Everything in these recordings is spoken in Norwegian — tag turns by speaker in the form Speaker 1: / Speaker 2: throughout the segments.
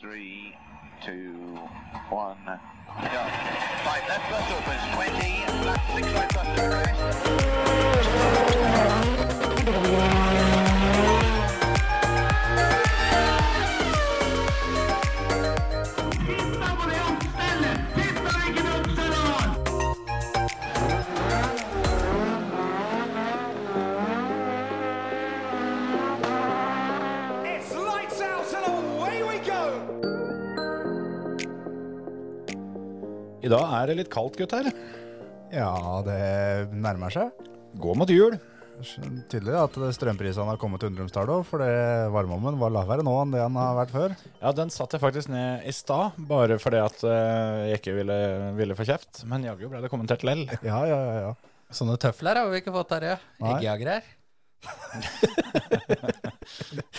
Speaker 1: Three, two, one, go. Right, left bus opens 20, left six right bus to crest.
Speaker 2: It's lights out and away we go!
Speaker 3: I dag er det litt kaldt, gutter.
Speaker 4: Ja, det nærmer seg.
Speaker 3: Gå mot jul.
Speaker 4: Tydelig at strømprisene har kommet til undrumstallet òg, for det varmeovnen var lavere nå enn det den har vært før.
Speaker 3: Ja, den satt jeg faktisk ned i stad, bare fordi at eh, jeg ikke ville, ville få kjeft. Men jaggu ble det kommentert lell.
Speaker 4: Ja, ja, ja. ja.
Speaker 5: Sånne tøfler har vi ikke fått her, ja.
Speaker 4: Nei.
Speaker 5: Eggjagere her.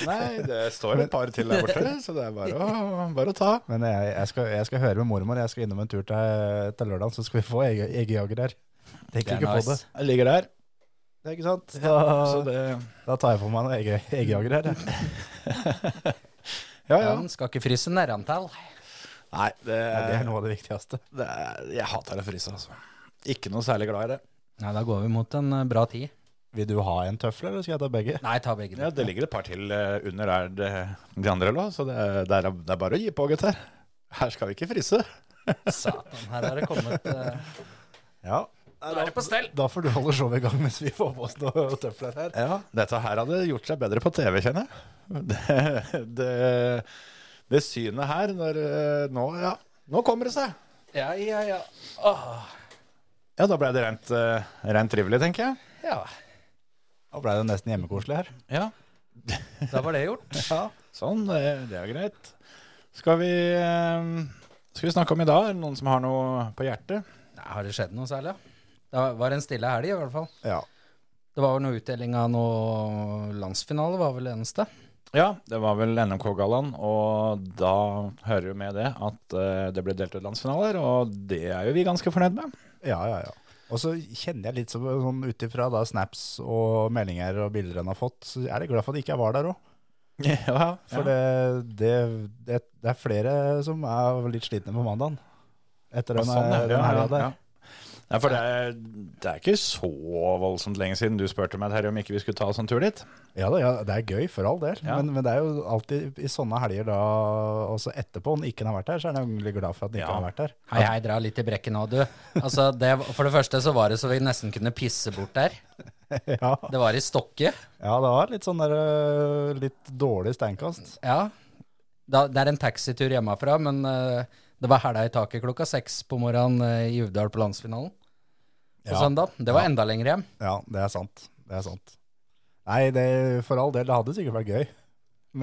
Speaker 3: Nei, det står et par til der borte, så det er bare å, bare å ta.
Speaker 4: Men jeg, jeg, skal, jeg skal høre med mormor. Jeg skal innom en tur til, til lørdag, så skal vi få egge- eggejager her. Tenker ikke på det.
Speaker 3: Jeg ligger der.
Speaker 4: Det er ikke sant?
Speaker 3: Så
Speaker 4: Da,
Speaker 3: det
Speaker 4: da tar jeg på meg noen egge, eggejager her. jeg.
Speaker 3: Ja, ja.
Speaker 5: Den skal ikke fryse nærantall.
Speaker 3: Nei, det,
Speaker 4: Ja, det er
Speaker 3: er,
Speaker 4: noe av det viktigste.
Speaker 3: det er, jeg hater å fryse, altså. Ikke noe særlig glad i det.
Speaker 5: Nei, da går vi mot en eh, bra tid.
Speaker 4: Vil du ha en tøffel, eller skal jeg ta begge?
Speaker 5: Nei, ta begge.
Speaker 3: Ja, Det ligger et par til eh, under der det, de andre lå, så det, er- det, er, det er bare å gi på, gutter. Her skal vi ikke fryse.
Speaker 5: Satan, her er det kommet eh,
Speaker 4: Ja.
Speaker 5: Nå er det på stell.
Speaker 4: Da får du holde showet i gang mens vi får på oss noen tøfler her.
Speaker 3: Ja, dette her hadde gjort seg bedre på TV, kjenner jeg. Det, det, det synet her når, eh, nå, ja, nå kommer det seg.
Speaker 5: Ja, ja, ja. Åh,
Speaker 3: Ja, da ble det rent, eh, rent trivelig, tenker jeg.
Speaker 5: ja.
Speaker 4: Da ble det nesten hjemmekoselig her.
Speaker 3: Ja.
Speaker 5: Da var det gjort.
Speaker 3: Sånn, det, det er greit. Skal vi, eh, skal vi snakke om i dag? Er det noen som har noe på hjertet?
Speaker 5: Nei, har det skjedd noe særlig? Det var en stille helg, i hvert fall.
Speaker 4: Ja.
Speaker 5: Det var vel noe utdeling av noe landsfinale, var vel det eneste.
Speaker 3: Ja, det var vel NMK-gallaen, og da hører jo med det at eh, det ble delt ut landsfinaler, og det er jo vi ganske fornøyd med.
Speaker 4: Ja, ja, ja. Og så kjenner jeg litt som- sånn ut ifra da snaps og meldinger og bilder en har fått, så er jeg glad for at ikke jeg var der òg.
Speaker 3: Ja,
Speaker 4: For det, det, det, det er flere som er litt slitne på mandagen. Etter den,
Speaker 3: Ja, sånn, ja.
Speaker 4: den helga
Speaker 3: Ja,
Speaker 4: der.
Speaker 3: ja. Ja, for det er, det er ikke så voldsomt lenge siden du spurte meg Terje, om ikke vi skulle ta oss en tur dit.
Speaker 4: Ja, da, ja, det er gøy for all del,
Speaker 3: Ja.
Speaker 4: men, men det er jo alltid i sånne helger da, også etterpå, når ikke den har vært der, så er jeg egentlig glad for at den ikke
Speaker 3: Ja.
Speaker 4: har vært der.
Speaker 5: Hei, hei, dra litt i brekket nå, du. Altså, det, for det første så var det så vi nesten kunne pisse bort der.
Speaker 4: Ja,
Speaker 5: Det var i Stokke.
Speaker 4: ja det var litt sånn der øh, litt dårlig steinkast.
Speaker 5: Ja. Da, det er en taxitur hjemmefra, men eh, det var hæla i taket klokka seks på morgenen eh, i Uvdal på landsfinalen på
Speaker 4: Ja.
Speaker 5: søndag. Det var enda lenger hjem.
Speaker 4: Ja, det er sant. Det er sant. Nei, det, for all del, det hadde sikkert vært gøy.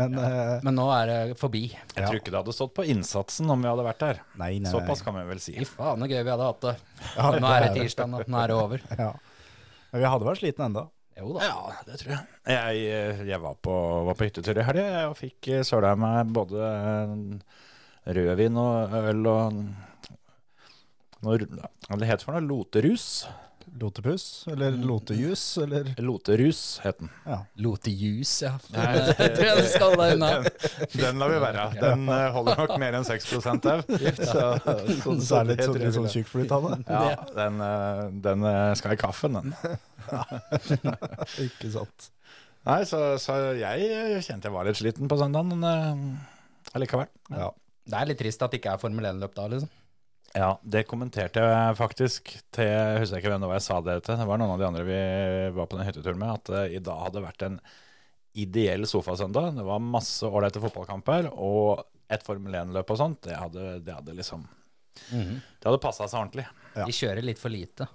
Speaker 4: Men eh,
Speaker 5: Men nå er det forbi.
Speaker 3: Jeg
Speaker 4: Ja.
Speaker 3: tror ikke det hadde stått på innsatsen om vi hadde vært der.
Speaker 4: nei, nei, nei.
Speaker 3: Såpass kan vi vel si.
Speaker 5: Fy faen, så gøy vi hadde hatt det.
Speaker 4: Ja,
Speaker 5: Nå er det
Speaker 4: det er
Speaker 5: tirsdag, nå. nå er det over.
Speaker 4: Ja. Men vi hadde vært sliten enda.
Speaker 5: Jo da.
Speaker 3: Ja, det tror jeg. Jeg, eh, jeg var, på, var på hyttetur i helga jeg, og fikk eh, søla i meg både eh, rødvin og øl og noe, ru- Hva det heter for noe? Loterus?
Speaker 4: Lotepus, eller
Speaker 3: Mm.
Speaker 4: lotejus, eller
Speaker 3: Loterus het den.
Speaker 5: Lotejus, ja. Det tror jeg du skal deg unna.
Speaker 3: Den lar vi være. Den eh, holder nok mer enn 6 au. Så,
Speaker 4: sånn,
Speaker 3: så
Speaker 4: særlig
Speaker 3: det
Speaker 4: sånn,
Speaker 3: tror jeg
Speaker 4: litt
Speaker 3: vi
Speaker 4: sånn
Speaker 3: lar-
Speaker 4: tjukkflyt av det.
Speaker 3: Ja, den, eh, den eh, skal i kaffen, den.
Speaker 4: Ikke sant.
Speaker 3: Nei, så, så jeg eh, kjente jeg var litt sliten på søndagen, men eh, allikevel.
Speaker 4: Ja.
Speaker 5: Det er litt trist at det ikke er Formel 1-løp da, liksom.
Speaker 3: Ja, det kommenterte jeg faktisk til Jeg husker ikke hvem det var jeg sa det til. Det var noen av de andre vi var på den hytteturen med, at eh, i dag hadde vært en ideell sofasøndag. Det var masse ålreite fotballkamper og et Formel 1-løp og sånt. Det hadde, det hadde liksom
Speaker 5: Mhm.
Speaker 3: Det hadde passa seg ordentlig.
Speaker 4: Ja.
Speaker 5: De kjører litt for lite.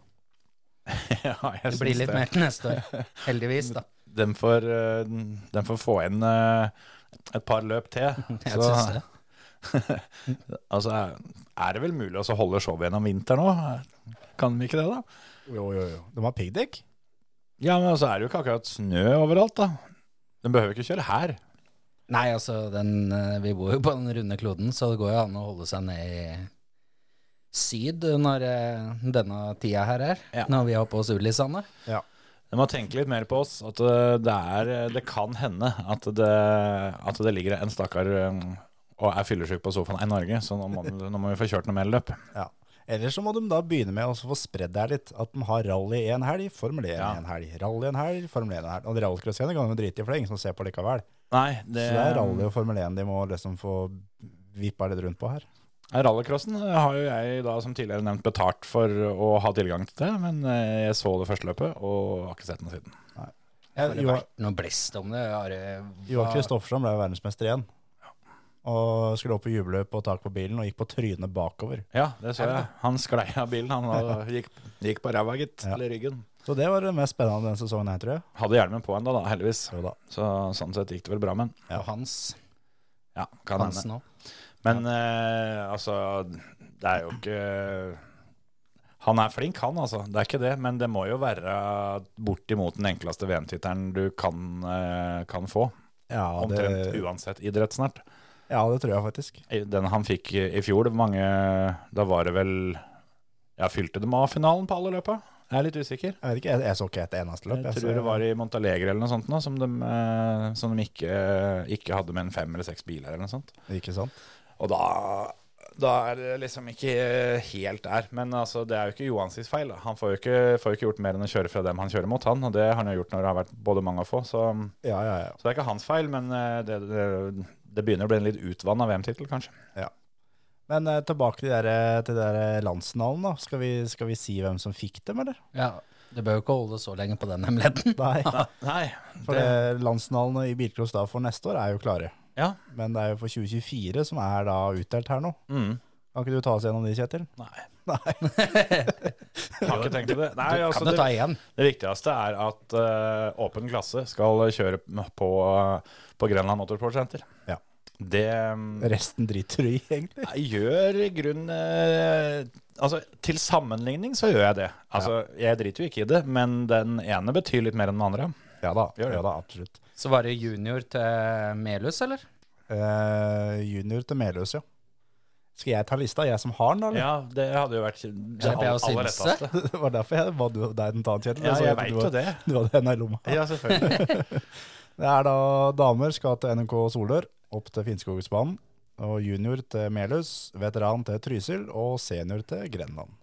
Speaker 3: ja, jeg
Speaker 5: Det blir
Speaker 3: syns
Speaker 5: litt mer til neste år. Heldigvis, da.
Speaker 3: Den får, eh, den får få inn eh, et par løp til.
Speaker 5: Jeg syns det.
Speaker 3: Altså, er- er det vel mulig også å holde showet gjennom vinteren òg? Kan de ikke det, da?
Speaker 4: Jo, jo, jo. De har piggdekk.
Speaker 3: Ja, men så er det jo ikke akkurat snø overalt, da. De behøver ikke kjøre her.
Speaker 5: Nei, altså, den, eh, vi bor jo på den runde kloden, så det går jo an å holde seg ned i syd når eh, denne tida her er,
Speaker 3: Ja.
Speaker 5: når vi har på oss ullissene.
Speaker 3: De må tenke litt mer på oss. At eh, det, er, det kan hende at det, at det ligger en stakkar eh, og er fyllesyk på sofaen i Norge, så nå må, nå må vi få kjørt noe mer løp.
Speaker 4: Ja. Eller så må de da begynne med å få spredd det her litt. At de har rally en helg, Formel 1
Speaker 3: Ja.
Speaker 4: en helg, rally en helg, Formel 1 en helg. Og rallycrossene kan de drite i, for det er ingen som ser på likevel.
Speaker 3: Nei, det,
Speaker 4: Så det er rally og Formel 1 de må liksom få vippa litt rundt på her.
Speaker 3: eh, Rallycrossen har jo jeg da som tidligere nevnt betalt for å ha tilgang til det, men eh, jeg så det første løpet og har ikke sett noe siden.
Speaker 5: Har det
Speaker 4: Jo,
Speaker 5: vært noe blest om det? Har det-
Speaker 4: Johan
Speaker 5: hva-
Speaker 4: Kristoffersson ble jo verdensmester igjen. Og skulle opp på jubelløp og tak på bilen og gikk på trynet bakover.
Speaker 3: Ja, det så jeg. Han sklei av bilen, han og gikk, gikk på ræva, gitt,
Speaker 4: Ja.
Speaker 3: eller ryggen.
Speaker 4: Så det var det mest spennende denne sesongen her, tror jeg.
Speaker 3: Hadde hjelmen på ennå, da, heldigvis.
Speaker 4: Jo da.
Speaker 3: Så sånn sett gikk det vel bra, men
Speaker 4: Ja.
Speaker 5: Og Hans
Speaker 3: ja, kan hende.
Speaker 5: Hansen òg.
Speaker 3: Men eh, altså, det er jo ikke Han er flink, han, altså. Det er ikke det. Men det må jo være bortimot den enkleste VM-tittelen du kan, eh, kan få.
Speaker 4: Ja
Speaker 3: Omtrent
Speaker 4: det,
Speaker 3: uansett idrett snart.
Speaker 4: ja, det tror jeg faktisk.
Speaker 3: I- Den han fikk i i fjor, det var mange Da var det vel Ja, fylte de av finalen på alle løpa? Jeg er litt usikker.
Speaker 4: Jeg vet ikke, jeg, jeg så ikke et eneste løp.
Speaker 3: Jeg tror det var i Montalegre eller noe sånt nå, som de, eh, som de ikke, ikke hadde med en fem eller seks biler eller noe sånt.
Speaker 4: Ikke sånn. sant?
Speaker 3: Og da, da er det liksom ikke helt der. Men altså, det er jo ikke Johansis feil. da. Han får jo ikke, får jo ikke gjort mer enn å kjøre fra dem han kjører mot, han. Og det har han jo gjort når det har vært både mange og få. Så,
Speaker 4: Ja, ja, ja.
Speaker 3: så det er ikke hans feil, men eh, det, det, det begynner å bli en litt utvanna VM-tittel, kanskje.
Speaker 4: Men eh, tilbake til, de der, til de der landsfinalen, da. Skal vi, skal vi si hvem som fikk dem, eller?
Speaker 5: Ja, du bør jo ikke holde så lenge på den hemmeligheten.
Speaker 4: Nei.
Speaker 3: Nei,
Speaker 4: For
Speaker 3: det,
Speaker 4: det- landsfinalene i bilcross da for neste år er jo klare.
Speaker 3: ja.
Speaker 4: Men det er jo for 2024 som er da utdelt her nå.
Speaker 3: Mm.
Speaker 4: Kan ikke du ta oss gjennom de, Kjetil?
Speaker 3: Nei.
Speaker 4: Nei.
Speaker 3: Jeg har ikke tenkt på det. Nei,
Speaker 5: Du
Speaker 3: altså,
Speaker 5: kan jo
Speaker 3: det,
Speaker 5: ta igjen.
Speaker 3: det viktigste er at eh, åpen klasse skal kjøre på, eh, på Grenland Motorsportsenter.
Speaker 4: Ja.
Speaker 3: Det mm,
Speaker 4: Resten driter du i, egentlig.
Speaker 3: Jeg gjør i grunn eh, Altså, til sammenligning så gjør jeg det. Altså, Jeg driter jo ikke i det, men den ene betyr litt mer enn den andre.
Speaker 4: Ja da,
Speaker 3: Gjør det.
Speaker 4: ja da absolutt.
Speaker 5: Så var det junior til Melhus, eller?
Speaker 4: Eh, junior til Meløs, ja. Skal jeg ta lista, jeg som har den, da? eller?
Speaker 3: Ja, det hadde jo vært det
Speaker 5: Eller Bea
Speaker 3: aller, aller
Speaker 5: Sinse?
Speaker 3: retteste.
Speaker 4: Det var derfor jeg ba du deg den ta, Kjetil.
Speaker 3: Ja,
Speaker 4: Så
Speaker 3: jeg
Speaker 4: at
Speaker 3: veit
Speaker 4: du
Speaker 3: jo
Speaker 4: var-
Speaker 3: det.
Speaker 4: Du hadde henne i lomma.
Speaker 3: Ja, selvfølgelig.
Speaker 4: Det er da damer skal til NMK Solør, opp til Finnskogsbanen, og junior til Melhus, veteran til Trysil og senior til Grenland.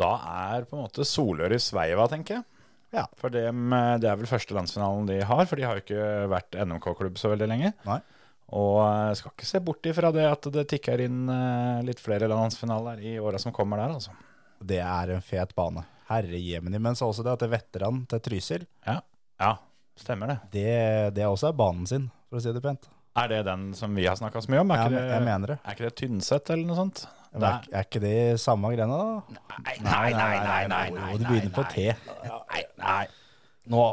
Speaker 3: Da er på en måte Solør i sveiva, tenker jeg.
Speaker 4: Ja.
Speaker 3: For dem, eh, det er vel første landsfinalen de har, for de har jo ikke vært NMK-klubb så veldig lenge.
Speaker 4: Nei.
Speaker 3: Og eh, skal ikke se bort ifra det at det tikker inn eh, litt flere landsfinaler i åra som kommer der, altså.
Speaker 4: Det er en fet bane. Herre jemini. Men så også det at det er veteran til Trysil,
Speaker 3: Ja, ja stemmer det.
Speaker 4: det, det også er banen sin, for å si det pent.
Speaker 3: Er det den som vi har snakka så mye om? Er
Speaker 4: Jeg,
Speaker 3: ikke,
Speaker 4: jeg
Speaker 3: det,
Speaker 4: mener det.
Speaker 3: er ikke det Tynset eller noe sånt?
Speaker 4: Men Er, er ikke det samme grena, da?
Speaker 5: Nei, nei, nei, nei, nei,
Speaker 4: Jo,
Speaker 5: nei,
Speaker 4: det begynner på T.
Speaker 5: nei, nei. Nå,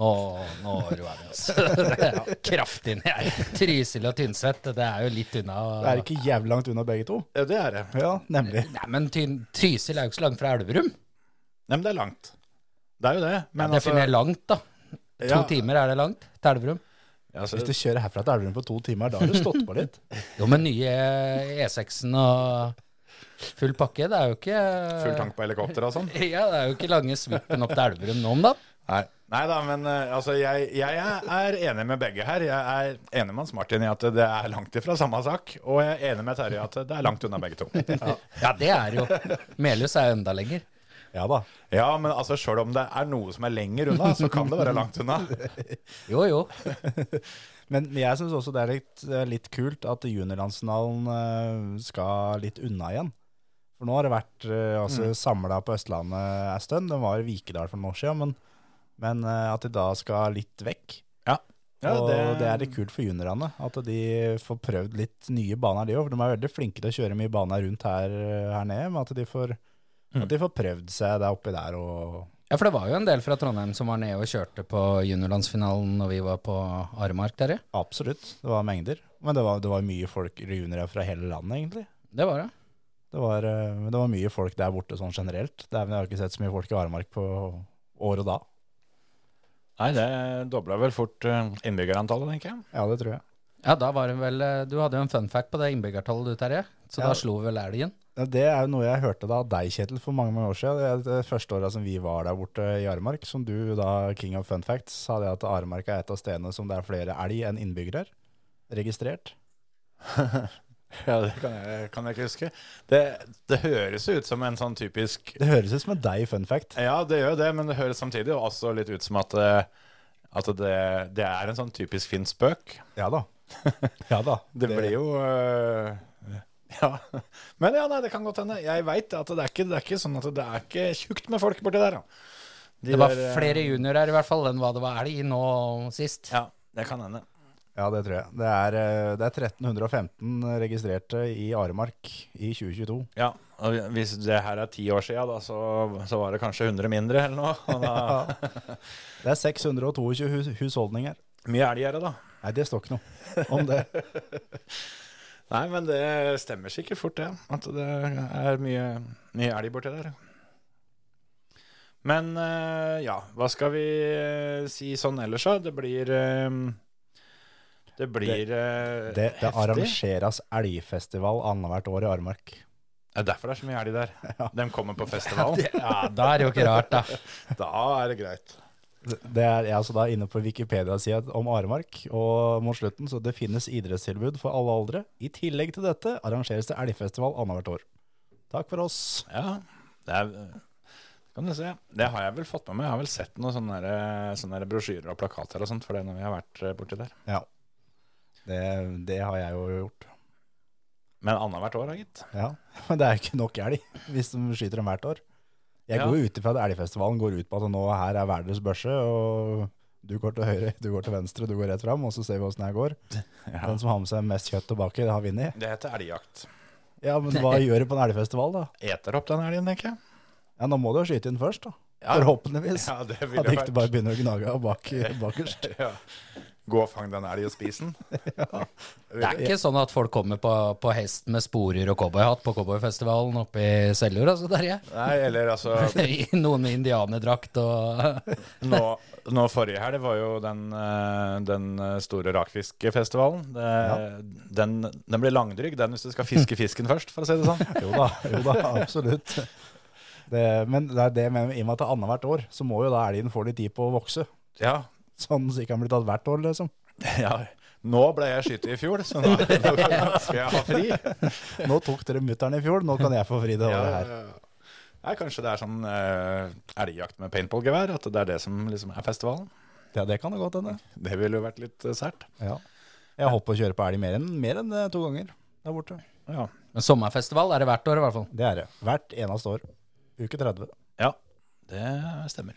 Speaker 5: nå, nå roer vi oss. Det er Kraftig ned. Trysil og Tynset, det er jo litt unna.
Speaker 4: Det er ikke jævlig langt unna begge to.
Speaker 3: Ja, det er det.
Speaker 4: Ja, nemlig.
Speaker 5: Nei, men Tyn Trysil er jo ikke så langt fra Elverum.
Speaker 3: Nei, men det er langt. Det er jo det. Men altså,
Speaker 5: Definer langt, da. To
Speaker 3: Ja.
Speaker 5: timer er det langt til Elverum.
Speaker 3: ja, altså,
Speaker 4: Hvis du kjører herfra til Elverum på to timer, da har du stått på litt.
Speaker 5: Jo, men nye E6-en og full pakke, det er jo ikke
Speaker 3: full tank på helikopter og sånn.
Speaker 5: Ja, det er jo ikke lange svippen opp til Elverum nå om dagen.
Speaker 3: Nei. da, men eh, altså, jeg, jeg er enig med begge her. Jeg er enig med Hans Martin i at det er langt ifra samme sak. Og jeg er enig med Terje i at det er langt unna begge to.
Speaker 5: Ja, det er jo Melhus er jo enda lenger.
Speaker 4: Ja da.
Speaker 3: Ja, men altså, sjøl om det er noe som er lenger unna, så kan det være langt unna.
Speaker 5: Jo, jo.
Speaker 4: Men men jeg syns også det er litt, eh, litt kult at juniorlandsfinalen eh, skal litt unna igjen. For nå har det vært eh,
Speaker 5: Mm.
Speaker 4: altså, samla på Østlandet en stund. Den var i Vikedal for noen år siden, men, men eh, at de da skal litt vekk.
Speaker 3: Ja. Ja,
Speaker 4: og det... er litt kult for juniorene, at de får prøvd litt nye baner, de òg. For de er veldig flinke til å kjøre mye baner rundt her, eh, her nede, men at de, får, at de får prøvd seg der oppi der og
Speaker 5: Ja, for det var jo en del fra Trondheim som var nede og kjørte på juniorlandsfinalen når vi var på Aremark der, ja.
Speaker 4: Absolutt, det var mengder. Men det var, det var mye folk juniorer fra hele landet, egentlig.
Speaker 5: Det var det.
Speaker 4: Det var, eh, men det var mye folk der borte sånn generelt. Det er, jeg har ikke sett så mye folk i Aremark på år og da.
Speaker 3: Nei, det dobla vel fort eh, innbyggerantallet, tenker jeg.
Speaker 4: Ja, det tror jeg.
Speaker 5: Ja, da var det vel eh, Du hadde jo en fun fact på det innbyggertallet du, Terje. Så
Speaker 4: Ja.
Speaker 5: da slo vel elgen.
Speaker 4: Ja, Det er jo noe jeg hørte da av deg, Kjetil, for mange mange år siden. Det, er det første året som vi var der borte i Aremark, som du da, king of fun facts, sa det at Aremark er et av stedene som det er flere elg enn innbyggere registrert.
Speaker 3: Ja, det kan jeg, kan jeg ikke huske. Det, det høres jo ut som en sånn typisk
Speaker 4: Det høres ut som en deg fun fact.
Speaker 3: Ja, det gjør jo det, men det høres samtidig jo også litt ut som at, eh, at det, det er en sånn typisk finn spøk.
Speaker 4: Ja da. Ja da.
Speaker 3: Det blir jo eh, Ja. Men ja, nei, det kan godt hende. Jeg veit at det er, ikke, det er ikke sånn at det er ikke tjukt med folk borti der, da. De
Speaker 5: Det var
Speaker 3: der, eh,
Speaker 5: flere juniorer her i hvert fall enn hva det var elg nå sist.
Speaker 3: Ja, det kan hende.
Speaker 4: Ja, det tror jeg. Det er, eh, det er 1315 registrerte i Aremark i 2022.
Speaker 3: Ja, og Hvis det her er ti år sia, da, så, så var det kanskje 100 mindre eller noe. Og da,
Speaker 4: Det er 622 hus husholdninger.
Speaker 3: Mye elggjerde, da.
Speaker 4: Nei, det står ikke noe om det.
Speaker 3: Nei, men det stemmer sikkert fort, det. At det er mye, mye elg borti der. Men eh, ja, hva skal vi eh, si sånn ellers, da? Det blir eh, Det blir eh,
Speaker 4: Det, det
Speaker 3: heftig.
Speaker 4: arrangeres elgfestival annethvert år i Aremark.
Speaker 3: Det er derfor det er så mye elg der. De kommer på festivalen.
Speaker 5: Ja, Da er det jo ikke rart, da.
Speaker 3: Da er det greit.
Speaker 4: Det er jeg altså da inne på Wikipedia-sida om Aremark, og mot slutten så det finnes idrettstilbud for alle aldre. I tillegg til dette arrangeres det elgfestival annethvert år. Takk for oss.
Speaker 3: Ja, det er kan du se. Det har jeg vel fått med meg. Jeg har vel sett noen sånne, der- eh, sånne der brosjyrer og plakater og sånt for det når vi har vært eh, borti der.
Speaker 4: Ja, det, det har jeg jo gjort.
Speaker 3: Men annethvert år, da, gitt.
Speaker 4: Ja, Men det er jo ikke nok elg hvis de skyter dem hvert år. Jeg
Speaker 3: Ja.
Speaker 4: går jo ut ifra at elgfestivalen går ut på at nå her er verdens børse, og du går til høyre, du går til venstre, du går rett fram, og så ser vi åssen det her går. Den som har med seg mest kjøtt tilbake, det har vunnet.
Speaker 3: Det heter elgjakt.
Speaker 4: Ja, men hva gjør du på en elgfestival, da?
Speaker 3: Eter opp den elgen, tenker jeg.
Speaker 4: Ja, Nå må du jo skyte inn først, da.
Speaker 3: Ja.
Speaker 4: Forhåpentligvis.
Speaker 3: Ja, det
Speaker 4: At
Speaker 3: ville
Speaker 4: ikke
Speaker 3: vært
Speaker 4: du bare begynner å gnage av bak, bakerst.
Speaker 3: ja. Gå og fang den elgen og spis den.
Speaker 5: Det er ikke sånn at folk kommer på, på hest med sporer og cowboyhatt på cowboyfestivalen oppe i Seljord, altså, Terje.
Speaker 3: Nei, eller altså
Speaker 5: Noen med indianerdrakt og
Speaker 3: Nå, nå forrige helg var jo den, eh, den store rakfiskefestivalen. Det, den, den blir langdrygg, den hvis du skal fiske fisken først, for å si det sånn.
Speaker 4: Jo da, jo da, absolutt. Det, men det er det jeg mener, i og med at det er annethvert år, så må jo da elgen få litt tid på å vokse.
Speaker 3: Ja,
Speaker 4: Sånn så ikke han blir tatt hvert år, liksom.
Speaker 3: ja. Nå ble jeg skyter i fjor, så nå, nå skal jeg ha fri.
Speaker 4: Nå tok dere mutter'n i fjor, nå kan jeg få fri det året her.
Speaker 3: Nei, kanskje det er sånn uh, elgjakt med paintballgevær, at det er det som liksom er festivalen.
Speaker 4: Ja, det kan det godt hende.
Speaker 3: Det ville jo vært litt eh, sært.
Speaker 4: Ja. Jeg håper å kjøre på elg mer enn, mer enn eh, to ganger der borte.
Speaker 3: Ja.
Speaker 5: Men sommerfestival er det hvert år, i hvert fall.
Speaker 4: Det er det. Hvert eneste år. Uke 30.
Speaker 3: Ja, det stemmer.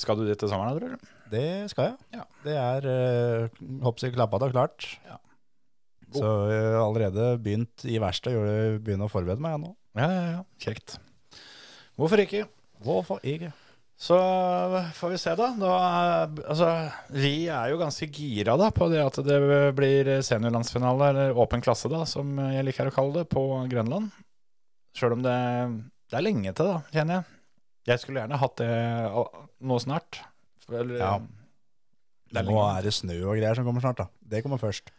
Speaker 3: Skal du dit til sommeren, da, tror du?
Speaker 4: Det skal jeg.
Speaker 3: Ja.
Speaker 4: Det er eh, hoppsi klappa da klart.
Speaker 3: Ja.
Speaker 4: Så jeg har allerede begynt i verste, begynner å forberede meg jeg nå.
Speaker 3: Ja, ja, ja. Kjekt. Hvorfor ikke?
Speaker 4: Hvorfor ikke?
Speaker 3: Så eh, får vi se, da. da altså, vi er jo ganske gira da, på det at det blir seniorlandsfinale, eller åpen klasse, da, som jeg liker å kalle det, på Grønland. Sjøl om det, det er lenge til, da, kjenner jeg. Jeg skulle gjerne hatt det eh, al- nå snart. Eller, eh,
Speaker 4: Ja.
Speaker 3: Det er
Speaker 4: nå
Speaker 3: lenge.
Speaker 4: er det snø og greier som kommer snart da. Det kommer først.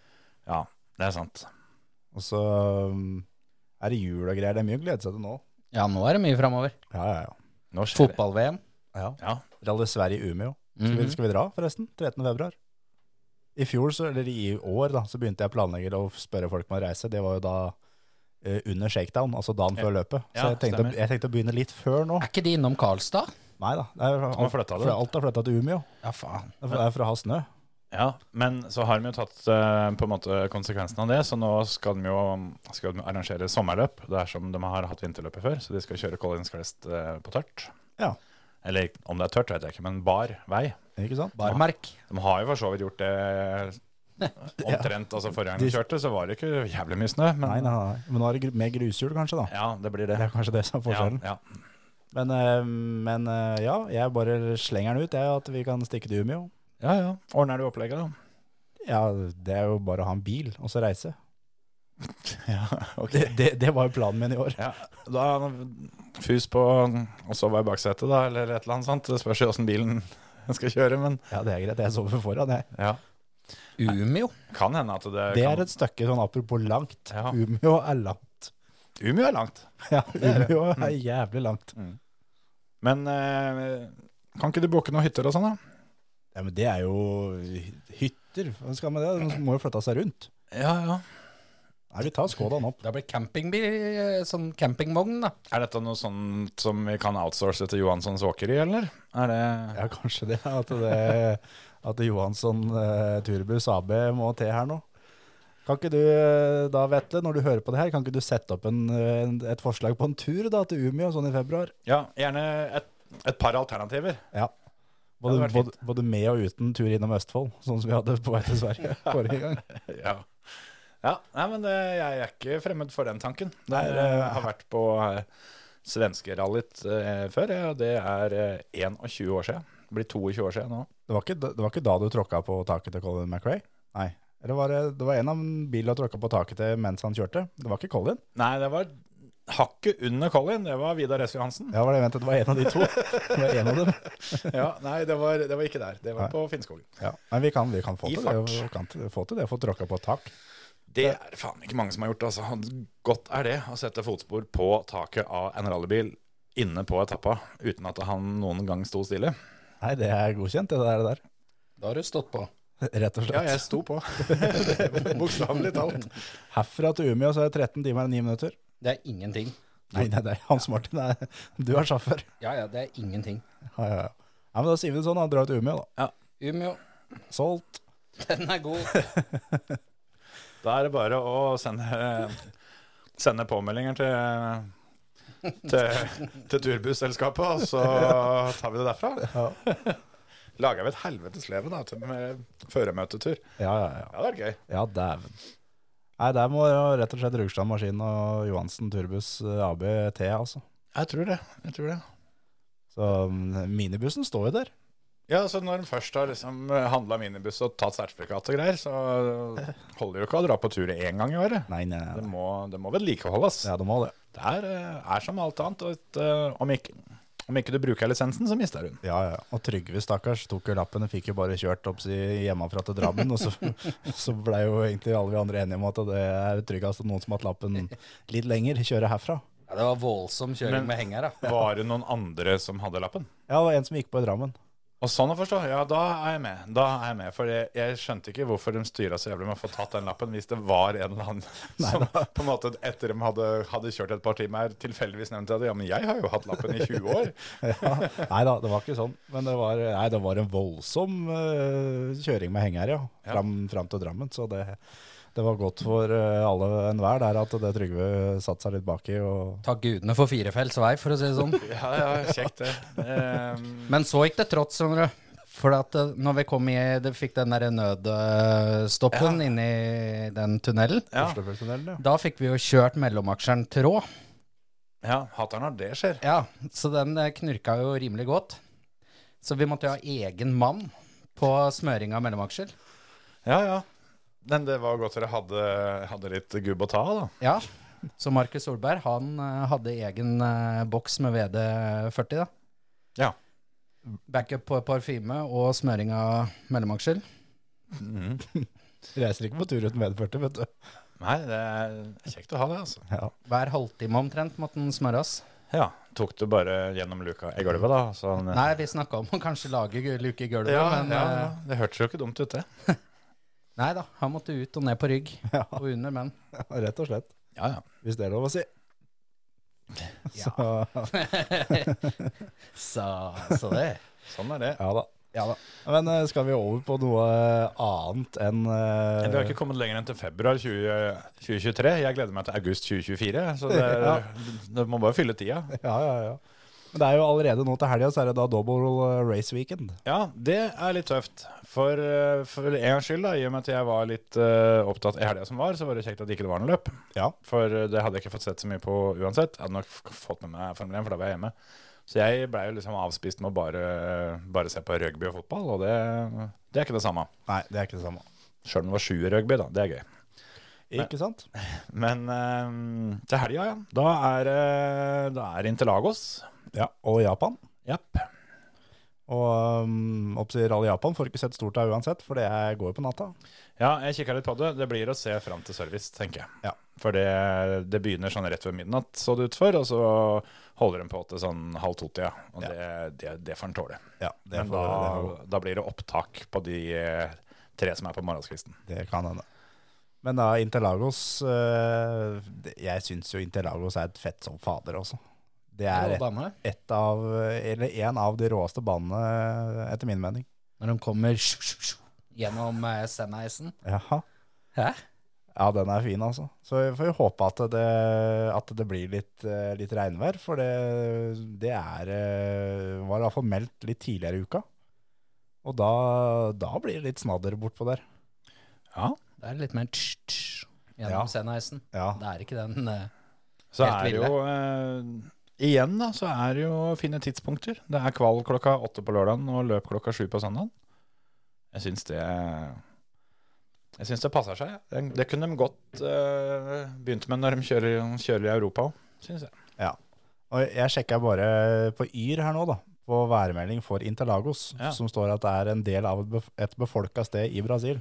Speaker 3: Ja, det er sant.
Speaker 4: Og så um, er det jul og greier. Det er mye å glede seg til nå.
Speaker 5: Ja, nå er det mye framover.
Speaker 4: Ja, ja, ja.
Speaker 3: Nå skjer det.
Speaker 5: Fotball-VM.
Speaker 4: ja.
Speaker 3: Ja,
Speaker 4: Rally Sverige Umeå. Skal, vi-
Speaker 5: Mhm.
Speaker 4: skal vi dra forresten? 13. februar. I fjor, så, eller i år da, så begynte jeg å planlegge og spørre folk om å reise. Det var jo da eh, under shakedown, altså dagen før løpet. Så
Speaker 3: Ja,
Speaker 4: jeg tenkte,
Speaker 3: stemmer.
Speaker 4: jeg tenkte å begynne litt før nå.
Speaker 5: Er ikke de innom Karlstad?
Speaker 4: Nei da. Det er,
Speaker 3: har flyttet det.
Speaker 4: for alt er flytta til Umeå.
Speaker 5: Ja, faen.
Speaker 4: Det er for- det er for å ha snø.
Speaker 3: Ja, men så har de jo tatt eh, på en måte konsekvensen av det, så nå skal de jo skal de arrangere sommerløp dersom de har hatt vinterløpet før, så de skal kjøre Collins Crest eh, på tørt.
Speaker 4: Ja.
Speaker 3: Eller om det er tørt, vet jeg ikke, men bar vei.
Speaker 4: Ikke sant?
Speaker 5: Barmark.
Speaker 3: De har jo for så vidt gjort det omtrent, altså forrige gang de kjørte, så var det ikke jævlig mye snø, men
Speaker 4: Nei, nei, nei. Men nå er det gru- mer grushjul, kanskje, da.
Speaker 3: ja, det blir det.
Speaker 4: Det er kanskje det som er
Speaker 3: Ja,
Speaker 4: forskjellen.
Speaker 3: ja.
Speaker 4: Men, eh, men eh, ja, jeg bare slenger den ut, jeg, at vi kan stikke til Umeå.
Speaker 3: ja, ja. Ordner du opplegget da?
Speaker 4: Ja, det er jo bare å ha en bil, og så reise.
Speaker 3: Ja, ok.
Speaker 4: Det, det, det var jo planen min i år.
Speaker 3: Ja, da fus på og sove i baksetet da, eller et eller annet sånt. Det spørs jo hvordan bilen skal kjøre, men
Speaker 4: Ja, det er greit. Jeg sover foran, jeg.
Speaker 3: ja.
Speaker 5: Umeå.
Speaker 3: Kan hende at det,
Speaker 4: Det
Speaker 3: kan...
Speaker 4: er et stykke sånn apropos langt.
Speaker 3: Ja.
Speaker 4: Umeå er langt.
Speaker 3: Umeå er Mm. langt.
Speaker 4: Ja, Umeå er jævlig langt.
Speaker 3: Men eh, kan ikke du booke noen hytter og sånn, da?
Speaker 4: Ja, men det er jo hy- hytter. Hva skal man med det? Man må jo flytte seg rundt.
Speaker 3: Ja, ja.
Speaker 4: Nei, vi tar Skodaen opp.
Speaker 5: Da blir campingbil eh, sånn campingvogn, da.
Speaker 3: Er dette noe sånt som vi kan outsource til Johanssons Walkeri, eller? Er det
Speaker 4: Ja, kanskje det. At, det, at Johansson eh, Turbuss AB må til her nå. Kan ikke du eh, da, Vetle, når du hører på det her, kan ikke du sette opp en, eh, en, et forslag på en tur da, til Umeå sånn i februar?
Speaker 3: Ja, gjerne et, et par alternativer.
Speaker 4: Ja.
Speaker 3: Det hadde
Speaker 4: Både,
Speaker 3: vært
Speaker 4: både, både med og uten tur innom Østfold, sånn som vi hadde på vei til Sverige forrige gang.
Speaker 3: Ja. ja nei, men det, jeg er ikke fremmed for den tanken.
Speaker 4: Nei, det-
Speaker 3: jeg har vært på eh, svenskerallyt eh, før, ja, og det er eh, 21 år siden. Det blir 22 år siden nå.
Speaker 4: Det var ikke, da- det var ikke da du tråkka på taket til Colin McRae? Nei. Eller var det, det var en av bilene du tråkka på taket til mens han kjørte? Det var ikke Colin?
Speaker 3: Nei, det var hakket under Colin. Det var Vidar S. Johansen.
Speaker 4: Ja, var det, vent, det var en av de to. Det var en av dem.
Speaker 3: Ja, nei, det var, det var ikke der. Det var
Speaker 4: Nei.
Speaker 3: på Finnskogen.
Speaker 4: Ja, men vi kan, vi kan få,
Speaker 3: I
Speaker 4: til
Speaker 3: fart.
Speaker 4: det, vi kan til- få til det, få tråkka på tak.
Speaker 3: Det er faen ikke mange som har gjort. Altså. Godt er det å sette fotspor på taket av en rallybil inne på etappa uten at han noen gang sto stille.
Speaker 4: Nei, det er godkjent, det der. det
Speaker 5: Da har du stått på.
Speaker 4: der. Rett og
Speaker 3: Ja,
Speaker 4: slett.
Speaker 3: jeg sto på. Bokstavelig talt.
Speaker 4: Herfra til Umeå så er det 13 timer og 9 minutter.
Speaker 5: Det er ingenting.
Speaker 4: Nei, nei, nei, Hans Martin, nei, du er sjåfør.
Speaker 5: Ja ja, det er ingenting.
Speaker 4: Ja, ja, ja. ja, men Da sier vi det sånn, da. Dra til Umeå, da.
Speaker 5: Umeå,
Speaker 4: Solgt.
Speaker 5: den er god.
Speaker 3: Da er det bare å sende, sende påmeldinger til til, til turbusselskapet, og så tar vi det derfra. Lager vi et helvetes leve da, til- med føremøtetur.
Speaker 4: Ja, ja,
Speaker 3: Ja, det
Speaker 4: ja.
Speaker 3: hadde vært gøy.
Speaker 4: Ja, dæven. Nei, der må jo rett og slett Rugstad Maskin og Johansen Turbuss eh, AB til, altså.
Speaker 3: Jeg tror det. jeg tror det.
Speaker 4: Så mm, minibussen står jo der.
Speaker 3: Ja, så Når en først har liksom handla minibuss og tatt sertifikat og greier, så holder det jo ikke å dra på tur én gang i året.
Speaker 4: Nei, nei, nei.
Speaker 3: Det
Speaker 4: nei.
Speaker 3: må, det må vedlikeholdes.
Speaker 4: Ja, det må det.
Speaker 3: Det er, eh, er som alt annet. Og et, eh, om, ikke, om ikke du bruker lisensen, så mister du den.
Speaker 4: Ja, ja. Og Trygve, stakkars, tok jo lappen og fikk jo bare kjørt opp si, hjemmefra til Drammen. Og så, så ble jo egentlig alle vi andre enige om at det er tryggest at noen som har hatt lappen litt lenger, kjører herfra.
Speaker 5: Ja, det var voldsom kjøring med henger, da.
Speaker 3: Var det noen andre som hadde lappen?
Speaker 4: Ja, det var en som gikk på i Drammen.
Speaker 3: Og sånn å forstå, ja, da er jeg med. Da er jeg med, For jeg, jeg skjønte ikke hvorfor de styra så jævlig med å få tatt den lappen, hvis det var en eller annen som på en måte etter de hadde, hadde kjørt et par timer, tilfeldigvis nevnte at ja, men jeg har jo hatt lappen i 20 år.
Speaker 4: Ja. Nei da, det var ikke sånn. Men det var, nei, det var en voldsom eh, kjøring med henger, ja.
Speaker 3: Ja.
Speaker 4: Fram, fram til Drammen. Så det, det var godt for eh, alle enhver der at det Trygve satte seg litt baki. Og
Speaker 5: Takk gudene for firefelts vei, for å si det sånn.
Speaker 3: Ja, ja, kjekt det. Ehm,
Speaker 5: Men så gikk det trått, skjønner du. For at eh, når vi kom i, det fikk den der nødstoppen inni den tunnelen,
Speaker 3: ja,
Speaker 4: Oslofjordtunnelen, ja.
Speaker 5: da fikk vi jo kjørt mellomaksjeren tråd.
Speaker 3: ja, hateren når det skjer.
Speaker 5: Ja, så den eh, knurka jo rimelig godt. Så vi måtte jo ha egen mann på smøring av mellomaksjer.
Speaker 3: Ja, ja. Men det var godt dere hadde, hadde litt gubb å ta av, da.
Speaker 5: Ja, så Markus Solberg, han eh, hadde egen eh, boks med VD40 da.
Speaker 3: Ja.
Speaker 5: Backup på parfyme og smøring av mellomaksjer.
Speaker 4: Reiser ikke på tur uten medførte, vet du.
Speaker 3: Nei, det er kjekt å ha det, altså.
Speaker 4: Ja.
Speaker 5: Hver halvtime omtrent måtte den smøres.
Speaker 3: Ja, Tok du bare gjennom luka i gulvet, da? Sånn,
Speaker 5: Nei, vi snakka om å kanskje lage gu- luke i gulvet,
Speaker 3: ja,
Speaker 5: men
Speaker 3: ja, ja,
Speaker 5: eh,
Speaker 3: det hørtes jo ikke dumt ut, det.
Speaker 5: nei da. Han måtte ut og ned på rygg og under, men
Speaker 4: Ja, Rett og slett.
Speaker 3: Ja, ja.
Speaker 4: Hvis det er lov å si. Så,
Speaker 5: ja. Så, så det.
Speaker 3: Sånn er det.
Speaker 4: ja da.
Speaker 5: Ja da.
Speaker 4: Men eh, skal vi over på noe annet enn eh,
Speaker 3: Men Vi har ikke kommet lenger enn til februar 20, 2023. Jeg gleder meg til august 2024, så det,
Speaker 4: Ja.
Speaker 3: det må bare fylle tida.
Speaker 4: eh, Ja, ja, ja. Men det er jo allerede nå til helga, så er det da double eh, race weekend.
Speaker 3: Ja, det er litt tøft. For, eh, for en gangs skyld, da, i og med at jeg var litt eh, opptatt i helga som var, så var det kjekt at det ikke var noe løp.
Speaker 4: Ja.
Speaker 3: For eh, det hadde jeg ikke fått sett så mye på uansett. Jeg hadde nok f- fått med meg Formel 1, for da var jeg hjemme. Så jeg blei jo liksom avspist med å bare, bare se på rugby og fotball, og det, det er ikke det samme.
Speaker 4: Nei, det er ikke det samme.
Speaker 3: Sjøl om det var sju i rugby, da. Det er gøy.
Speaker 4: Ikke sant?
Speaker 3: Men eh, til helga, ja. Da er, eh, da er det Interlagos.
Speaker 4: Ja, Og Japan.
Speaker 3: Japp.
Speaker 4: Og um, oppsier Rally Japan får ikke sett stort av uansett, for det er- går jo på natta.
Speaker 3: Ja, jeg kikka litt på det. Det blir å se fram til service, tenker jeg.
Speaker 4: Ja.
Speaker 3: For det, det begynner sånn rett ved midnatt, så det ut for, og så holder de på til sånn halv to-tida. Og
Speaker 4: Ja.
Speaker 3: det, det, det får en tåle.
Speaker 4: Ja, det,
Speaker 3: Men
Speaker 4: får,
Speaker 3: da, da blir det opptak på de eh, tre som er på morgenskvisten.
Speaker 4: det, får, det kan hende. Men da, Interlagos eh, det- Jeg syns jo Interlagos er et fett som fader også. Det er
Speaker 5: Rå
Speaker 4: et,
Speaker 5: bane.
Speaker 4: et av, eller en av de råeste banene, etter min mening.
Speaker 5: Når de kommer sju, sju, sju, gjennom eh, Sandeisen.
Speaker 4: Jaha.
Speaker 5: Hæ?
Speaker 4: Ja, den er fin, altså. Så vi får jo håpe at det, at det blir litt, eh, litt regnvær, for det, det er eh, var i hvert fall meldt litt tidligere i uka. Og da, da blir det litt snadder bortpå der.
Speaker 3: Ja,
Speaker 5: Det er litt mer tsj, tsj,
Speaker 4: Ja.
Speaker 5: gjennom Sandeisen.
Speaker 4: Ja.
Speaker 5: Det er ikke den eh,
Speaker 3: Så
Speaker 5: Helt
Speaker 3: er det jo eh, Igjen, da, så er det jo fine tidspunkter. Det er kval klokka åtte på lørdagen og løp klokka sju på søndagen. Jeg syns det Jeg syns det passer seg. Det, det kunne de godt eh, begynt med når de kjører, kjører i Europa òg, syns jeg.
Speaker 4: Og jeg sjekka bare på Yr her nå, da. På værmelding for Interlagos,
Speaker 3: Ja.
Speaker 4: som står at det er en del av et bef- et befolka sted i Brasil.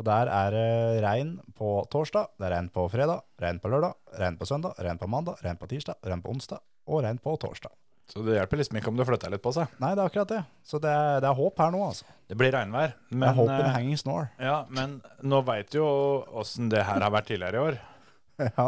Speaker 4: Og der er det regn på torsdag, det er regn på fredag, regn på lørdag, regn på søndag, regn på mandag, regn på tirsdag, regn på onsdag og regn på torsdag.
Speaker 3: Så det hjelper liksom ikke om det flytter litt på seg.
Speaker 4: Nei, det er akkurat det. Så det er, det er håp her nå, altså.
Speaker 3: Det blir regnvær.
Speaker 4: Men, det er håp
Speaker 3: eh,
Speaker 4: in hanging snore.
Speaker 3: ja, men nå veit jo åssen det her har vært tidligere i år.
Speaker 4: ja.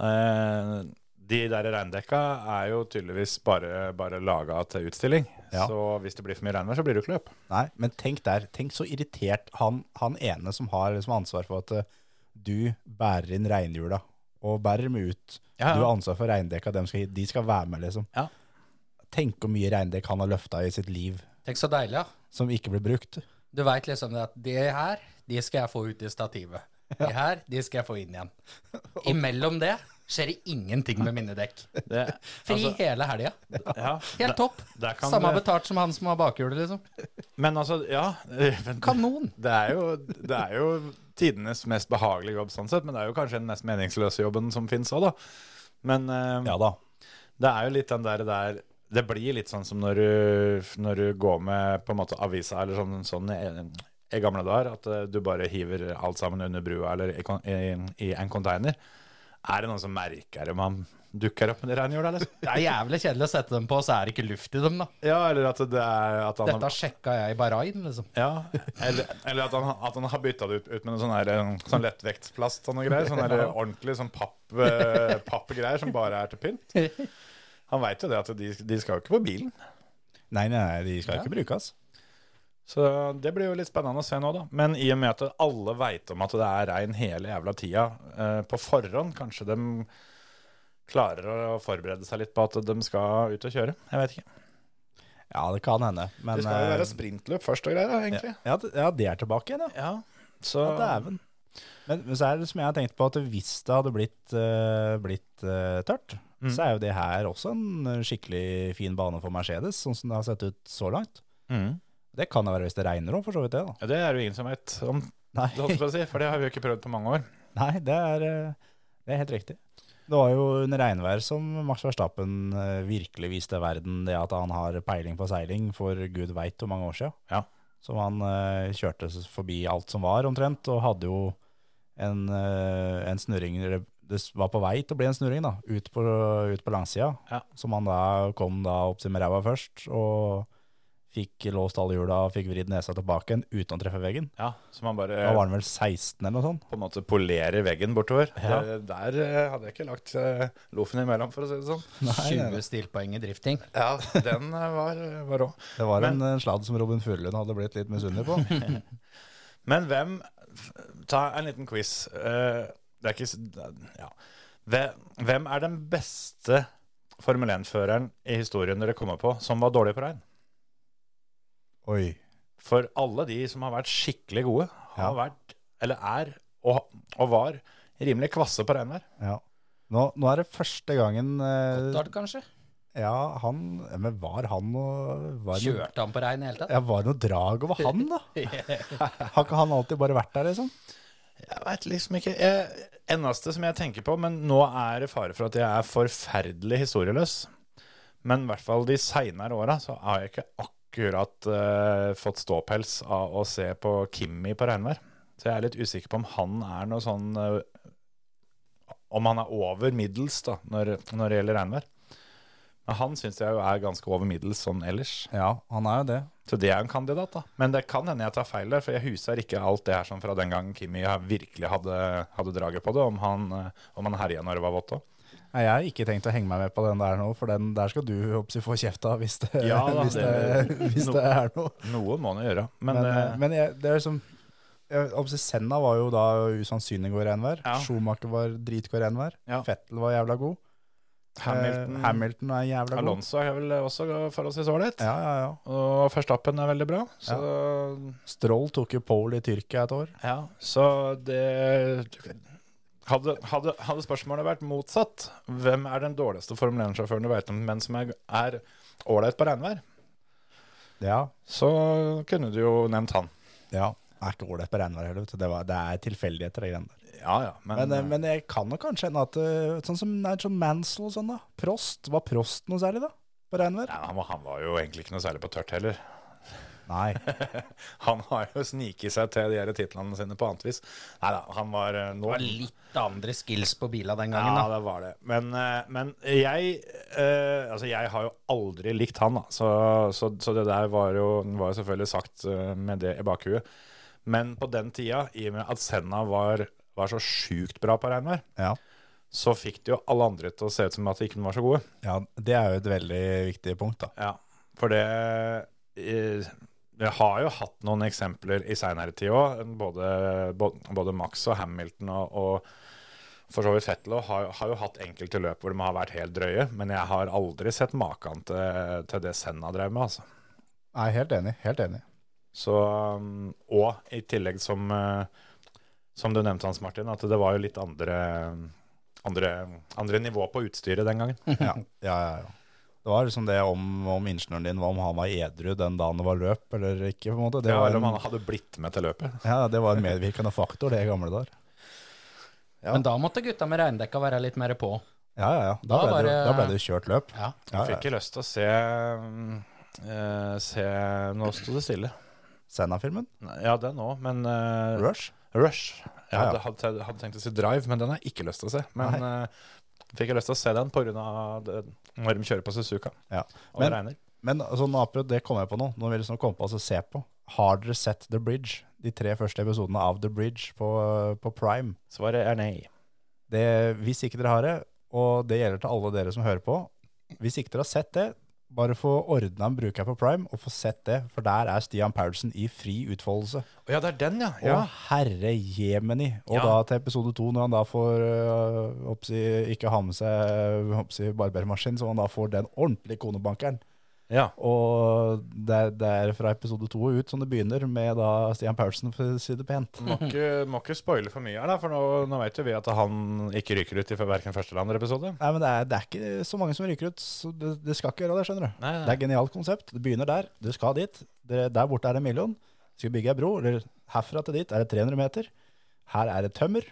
Speaker 3: Eh, de der regndekka er jo tydeligvis bare, bare laga til utstilling.
Speaker 4: Ja.
Speaker 3: Så hvis det blir for mye regnvær, så blir det jo ikke løp.
Speaker 4: Nei, men tenk der. Tenk så irritert han, han ene som har liksom ansvar for at eh, du bærer inn regnhjula og bærer dem ut.
Speaker 3: Ja, ja.
Speaker 4: Du har ansvar for reindekka, dem skal, de skal være med, liksom.
Speaker 3: Ja.
Speaker 4: Tenk hvor mye reindekk han har løfta i sitt liv,
Speaker 5: Tenk så deilig, ja.
Speaker 4: som ikke blir brukt.
Speaker 5: Du veit liksom det at det her, de skal jeg få ut i stativet. De her, de skal jeg få inn igjen. Imellom det skjer det ingenting med mine dekk.
Speaker 3: Det,
Speaker 5: Fri
Speaker 3: altså,
Speaker 5: hele helga.
Speaker 3: ja,
Speaker 5: Helt topp.
Speaker 3: der kan eh,
Speaker 5: Samme
Speaker 3: det-
Speaker 5: betalt som han som har bakhjulet, liksom.
Speaker 3: men altså, ja men
Speaker 5: Kanon.
Speaker 3: Det er jo, det er jo tidenes mest behagelige jobb, sånn sett, men det er jo kanskje den mest meningsløse jobben som fins òg, da. Men eh,
Speaker 4: Ja da.
Speaker 3: det er jo litt den der, der Det blir litt sånn som når du, når du går med på en måte avisa eller sånn, sånn i, i gamle dager, at eh, du bare hiver alt sammen under brua eller i, kon- i, i en container. Er det noen som merker om han dukker opp med det regnhjulet, eller?
Speaker 5: Det er jævlig kjedelig å sette dem på, så er det ikke luft i dem, da.
Speaker 3: Ja, eller at det er at han,
Speaker 5: Dette sjekka jeg i Bahrain, liksom.
Speaker 3: ja, eller, eller at, han, at han har bytta det ut, ut med noe sånn, her, eh, sånn lettvektsplast og noe greier. Sånn der ordentlig sånn papp, eh, pappgreier som bare er til pynt. Han veit jo det at de, de skal jo ikke på bilen.
Speaker 4: Nei, nei, nei, de skal
Speaker 5: Ja.
Speaker 4: ikke brukes.
Speaker 3: Så det blir jo litt spennende å se nå, da. Men i og med at alle veit om at det er regn hele jævla tida eh, på forhånd, kanskje de klarer å forberede seg litt på at de skal ut og kjøre. Jeg vet ikke.
Speaker 4: Ja, det kan hende. Men
Speaker 3: Det skal jo
Speaker 4: eh,
Speaker 3: være sprintløp først og greier, da, egentlig.
Speaker 4: ja, det- ja, de er tilbake igjen, ja.
Speaker 3: Ja, så
Speaker 4: Ja, dæven. Men, men så er det som jeg har tenkt på, at hvis det hadde blitt, eh, blitt eh, tørt, så er jo det her også en eh, skikkelig fin bane for Mercedes, sånn som det har sett ut så langt.
Speaker 3: mm.
Speaker 4: Det kan jo være hvis det regner òg, for så vidt det, da.
Speaker 3: ja, Det er jo ingen som veit om, det holdt
Speaker 4: Nei,
Speaker 3: jeg på å si, for det har vi jo ikke prøvd på mange år.
Speaker 4: Nei det, er, eh, det er helt riktig. Det var jo under regnvær som Max Verstappen eh, virkelig viste verden det at han har peiling på seiling for gud veit hvor mange år siden.
Speaker 3: Ja.
Speaker 4: Som han eh, kjørte s- forbi alt som var omtrent, og hadde jo en, eh, en snurring eller Det s- var på vei til å bli en snurring, da, ut på, ut på langsida.
Speaker 3: Ja.
Speaker 4: Som han da kom da opp til med ræva først, og fikk låst alle hjula og fikk vridd nesa tilbake igjen uten å treffe veggen.
Speaker 3: Ja, Så man bare
Speaker 4: Da var han vel 16 eller noe sånt.
Speaker 3: på en måte polerer veggen bortover.
Speaker 4: Ja.
Speaker 3: Det, der eh, hadde jeg ikke lagt eh, loffen imellom, for å si det sånn.
Speaker 5: 20 stilpoeng i drifting.
Speaker 3: Ja, den eh, var, var rå.
Speaker 4: Det var en eh, sladd som Robin Furlund hadde blitt litt misunnelig på.
Speaker 3: Men hvem Ta en liten quiz. Eh, det er ikke s- ja. Hve- Hvem er den beste Formel 1-føreren i historien dere kommer på som var dårlig på regn?
Speaker 4: Oi.
Speaker 3: For alle de som har vært skikkelig gode, har
Speaker 4: Ja.
Speaker 3: vært, eller er, og, og var, rimelig kvasse på regnvær.
Speaker 4: Ja. Nå, nå er det første gangen eh,
Speaker 5: Start, kanskje?
Speaker 4: Ja, han Men var han noe var det noe,
Speaker 5: Kjørte han på regn i hele tatt?
Speaker 4: ja, var det noe drag over han, da? Har ikke han alltid bare vært der, liksom?
Speaker 3: Jeg veit liksom ikke. Jeg, eneste som jeg tenker på, men nå er det fare for at jeg er forferdelig historieløs. Men i hvert fall de seinere åra så har jeg ikke akkurat eh, fått ståpels av å se på Kimmi på regnvær. Så jeg er litt usikker på om han er noe sånn eh, Om han er over middels da, når, når det gjelder regnvær. Men Ja, Han syns jeg jo er ganske over middels sånn ellers.
Speaker 4: Ja, han er jo det.
Speaker 3: Så det er en kandidat, da. Men det kan hende jeg tar feil der, for jeg huser ikke alt det her som fra den gangen Kimi har- virkelig hadde, hadde draget på det, om han, eh, om han herja når det var vått òg.
Speaker 4: Nei, jeg har ikke tenkt å henge meg med på den der nå, for den der skal du oppsi få kjeft av hvis det,
Speaker 3: Ja, da,
Speaker 4: hvis
Speaker 3: det-
Speaker 4: det, hvis det er noe.
Speaker 3: Noen må han jo gjøre. Men,
Speaker 4: Men,
Speaker 3: eh,
Speaker 4: eh, men jeg, det er liksom jeg, oppsi, Senna var jo da usannsynlig god i regnvær.
Speaker 3: Ja.
Speaker 4: Schumacher var dritgod i regnvær.
Speaker 3: Ja.
Speaker 4: Fettel var jævla god.
Speaker 3: Hamilton,
Speaker 4: Eh, Hamilton er jævla god.
Speaker 3: Alonso er vel også forholdsvis ålreit.
Speaker 4: Ja, ja, ja.
Speaker 3: Og Verstappen er veldig bra. Så,
Speaker 4: Stroll tok jo pole i Tyrkia et år.
Speaker 3: ja. så det hadde, hadde, hadde spørsmålet vært motsatt, hvem er den dårligste Formel 1-sjåføren du veit om, men som er er ålreit på regnvær,
Speaker 4: Ja,
Speaker 3: så kunne du jo nevnt han.
Speaker 4: ja. Det er ikke ålreit på regnvær heller. vet du. Det, var, det er tilfeldigheter, det greiene der.
Speaker 3: Ja ja, men,
Speaker 4: Men, eh, men jeg kan nok kanskje hende at eh, Sånn som Nigel Mansell og sånn, da. Prost. Var Prost noe særlig, da? På regnvær?
Speaker 3: Nei, han, var, han var jo egentlig ikke noe særlig på tørt heller.
Speaker 4: Nei.
Speaker 3: Han har jo sniket seg til de her titlene sine på annet vis. Nei da, han var eh, nå
Speaker 5: Det var litt andre skills på bila den gangen,
Speaker 3: Ja,
Speaker 5: da.
Speaker 3: det var det. Men, eh, men jeg eh, Altså, jeg har jo aldri likt han, da. Så, så, så det der var jo, var jo selvfølgelig sagt eh, med det i bakhuet. Men på den tida, i og med at Senna var, var så sjukt bra på regnvær,
Speaker 4: Ja.
Speaker 3: så fikk det jo alle andre til å se ut som at de ikke var så gode.
Speaker 4: ja, det er jo et veldig viktig punkt, da.
Speaker 3: Ja, for det eh, Jeg har jo hatt noen eksempler i seinere tid òg. Både, bo- både Max og Hamilton og, og for så vidt Fettel også har, har jo hatt enkelte løp hvor de har vært helt drøye. Men jeg har aldri sett maken til, til det Senna drev med, altså.
Speaker 4: Nei, helt enig. Helt enig.
Speaker 3: Så, um, og i tillegg som, eh, som du nevnte, Hans Martin, at det var jo litt andre, andre, andre nivå på utstyret den gangen.
Speaker 4: Ja, ja, ja. ja. Det var liksom det om, om ingeniøren din var om han var edru den dagen det var løp, eller ikke, på en måte. Det
Speaker 3: Det
Speaker 4: var
Speaker 3: var om
Speaker 4: en,
Speaker 3: han hadde blitt med til løpet.
Speaker 4: ja, det var en medvirkende faktor, det i gamle dager.
Speaker 5: Men da måtte gutta med regndekka være litt mer på.
Speaker 4: Ja, ja, ja. Da,
Speaker 5: Da
Speaker 4: ble
Speaker 5: var
Speaker 4: det,
Speaker 5: det-
Speaker 4: da ble det jo kjørt løp.
Speaker 5: Ja.
Speaker 4: Ja,
Speaker 3: Jeg
Speaker 4: ja.
Speaker 3: fikk ikke lyst til å se mm, eh, Se Nå sto det stille.
Speaker 4: Senna-filmen.
Speaker 3: Nei, Ja, den òg, men eh,
Speaker 4: Rush.
Speaker 3: Rush. Jeg
Speaker 4: Ja, ja.
Speaker 3: hadde, hadde, hadde tenkt å si Drive, men den har jeg ikke lyst til å se. Men eh, fikk jeg lyst til å se den pga. når de kjører på Suzuka
Speaker 4: Ja.
Speaker 3: og det
Speaker 4: Men,
Speaker 3: regner.
Speaker 4: men sånn apropos, det kom jeg på nå. Nå vil jeg liksom komme på altså, se på. Har dere sett The Bridge? De tre første episodene av The Bridge på, på Prime.
Speaker 3: Svaret er nei.
Speaker 4: Det, hvis ikke dere har det, og det gjelder til alle dere som hører på, hvis ikke dere har sett det, bare få ordna en bruker på Prime og få sett det, for der er Stian Paulsen i fri utfoldelse.
Speaker 3: Å ja, det er den, ja.
Speaker 4: Å,
Speaker 3: ja.
Speaker 4: herre jemeni! Og
Speaker 3: Ja.
Speaker 4: da til episode to, når han da får øh, hoppsi, ikke ha med seg hoppsi, barbermaskin, så han da får den ordentlige konebankeren.
Speaker 3: ja.
Speaker 4: Og det, er- det er fra episode to og ut som det begynner, med da Stian Paulsen, for å si det pent.
Speaker 3: Må ikke, må ikke spoile for mye her, da, for nå, nå vet jo vi at han ikke ryker ut i verken første eller andre episode.
Speaker 4: Nei, men det er, det er ikke så mange som ryker ut, så det, det skal ikke gjøre det, skjønner du.
Speaker 3: Nei,
Speaker 4: Det er et genialt konsept. Du begynner der, du skal dit. Det, der borte er det en million. Skal bygge ei bro. Eller herfra til dit er det 300 meter. Her er det tømmer.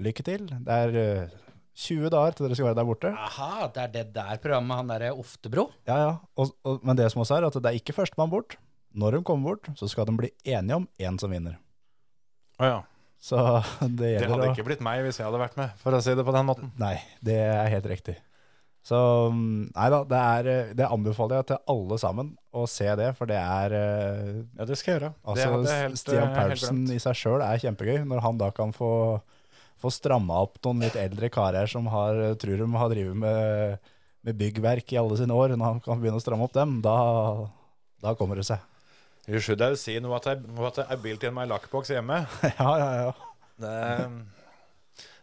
Speaker 4: Lykke til. Det er eh, 20 dager til dere skal være der borte.
Speaker 5: Aha, det er det der programmet, han derre Oftebro.
Speaker 4: Ja, ja. Og, og, men det som også er, at det er ikke førstemann bort. Når de kommer bort, så skal de bli enige om én som vinner.
Speaker 3: Å ja.
Speaker 4: Så det
Speaker 3: Det
Speaker 4: gjelder
Speaker 3: hadde
Speaker 4: å
Speaker 3: ikke blitt meg hvis jeg hadde vært med, for å si det på den måten.
Speaker 4: Nei, det er helt riktig. Så mm, nei da, det, er, eh, det anbefaler jeg til alle sammen å se det, for det er eh,
Speaker 3: Ja, det skal jeg gjøre. Det
Speaker 4: Altså,
Speaker 3: hadde jeg helt, eh,
Speaker 4: Stian
Speaker 3: helt
Speaker 4: Paulsen
Speaker 3: glemt.
Speaker 4: i seg sjøl er kjempegøy, når han da kan få, få stramma opp noen litt eldre karer som har, eh, tror de har drevet med, med byggverk i alle sine år. Når han kan begynne å stramme opp dem, da, da kommer det seg.
Speaker 3: You should have seen what I, what I built in my lockbox hjemme.
Speaker 4: Ja, ja, ja.
Speaker 3: Det,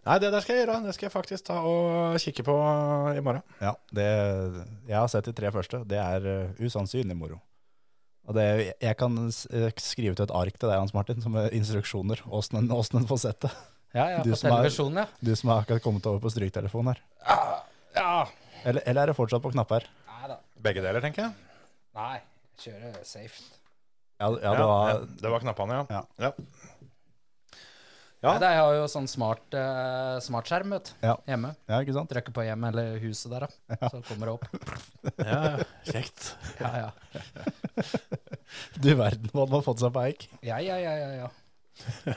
Speaker 3: nei, det der skal jeg gjøre. Det skal jeg faktisk ta og kikke på i morgen.
Speaker 4: ja det, jeg har sett de tre første. Det er eh, usannsynlig moro. Og det, jeg kan s- eh, skrive ut et ark til deg, Hans Martin, som er instruksjoner. Åssen en åssen en får sett det.
Speaker 5: Ja, ja,
Speaker 4: Du
Speaker 5: på
Speaker 4: som er-
Speaker 5: televisjonen, ja.
Speaker 4: Du som har akkurat kommet over på stryktelefon her.
Speaker 5: Ja.
Speaker 4: Eller, eller er det fortsatt på knapper?
Speaker 5: Nei da.
Speaker 3: Begge deler, tenker jeg.
Speaker 5: Nei, kjøre safe.
Speaker 4: Ja, ja,
Speaker 3: Ja,
Speaker 4: det var,
Speaker 3: det var knappene, ja. ja.
Speaker 5: Nei, jeg har jo sånn smart, eh, smartskjerm, vet du.
Speaker 4: Ja.
Speaker 5: Hjemme.
Speaker 4: ja ikke sant?
Speaker 5: Trykker på hjemme eller huset der, da. Så kommer det opp.
Speaker 3: ja. Kjekt.
Speaker 5: Ja, ja.
Speaker 4: Du verden hva han har fått seg på eik.
Speaker 5: Ja, ja, ja, ja, ja.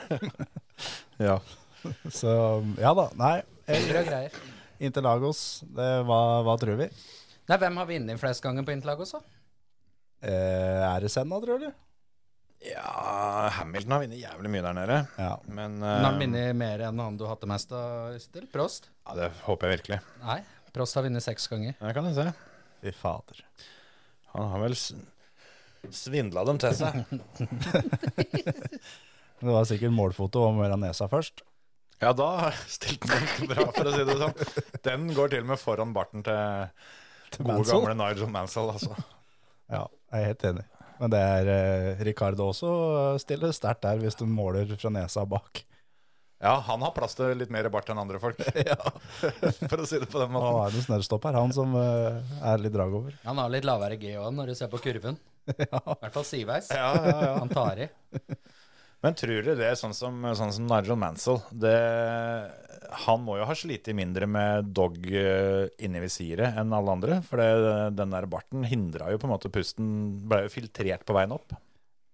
Speaker 3: Ja.
Speaker 4: Så ja da, nei. eh,
Speaker 5: Dyre greier.
Speaker 4: Interlagos, det, hva, hva tror vi?
Speaker 5: Nei, hvem har vunnet flest ganger på Interlagos, da?
Speaker 4: Eh, er det Senna, tror du?
Speaker 3: Ja, Hamilton har vunnet jævlig mye der nede.
Speaker 4: Ja.
Speaker 3: Men
Speaker 5: Han har
Speaker 3: eh,
Speaker 5: vunnet mer enn han du hatt det mest av, Øystil. Prost?
Speaker 3: ja, det håper jeg virkelig.
Speaker 5: Nei, Prost har vunnet seks ganger.
Speaker 3: Det kan jeg se.
Speaker 4: Fy fader.
Speaker 3: Han har vel svindla dem til seg.
Speaker 4: Det var sikkert målfoto om Veranesa først.
Speaker 3: Ja, da stilte han ganske bra, for å si det sånn. Den går til og med foran barten til, gode
Speaker 4: Mansell?
Speaker 3: gamle Nigel Mansell, altså.
Speaker 4: Ja, jeg er helt enig. Men det er eh, Ricardo også eh, stiller sterkt der hvis du måler fra nesa bak.
Speaker 3: Ja, han har plass til litt mer bart enn andre folk, for å si det på den
Speaker 4: Han
Speaker 3: måten.
Speaker 4: er en snørrstopp her, han som eh, er litt drag over.
Speaker 5: Han har litt lavere G òg når du ser på kurven. I hvert fall sideveis.
Speaker 3: Ja, ja, ja.
Speaker 5: Han tar i.
Speaker 3: Men tror du det er sånn som, sånn som Nigel Mansell det, Han må jo ha slitt mindre med dog eh, inni visiret enn alle andre. For det, den der barten hindra jo på en måte pusten Ble jo filtrert på veien opp.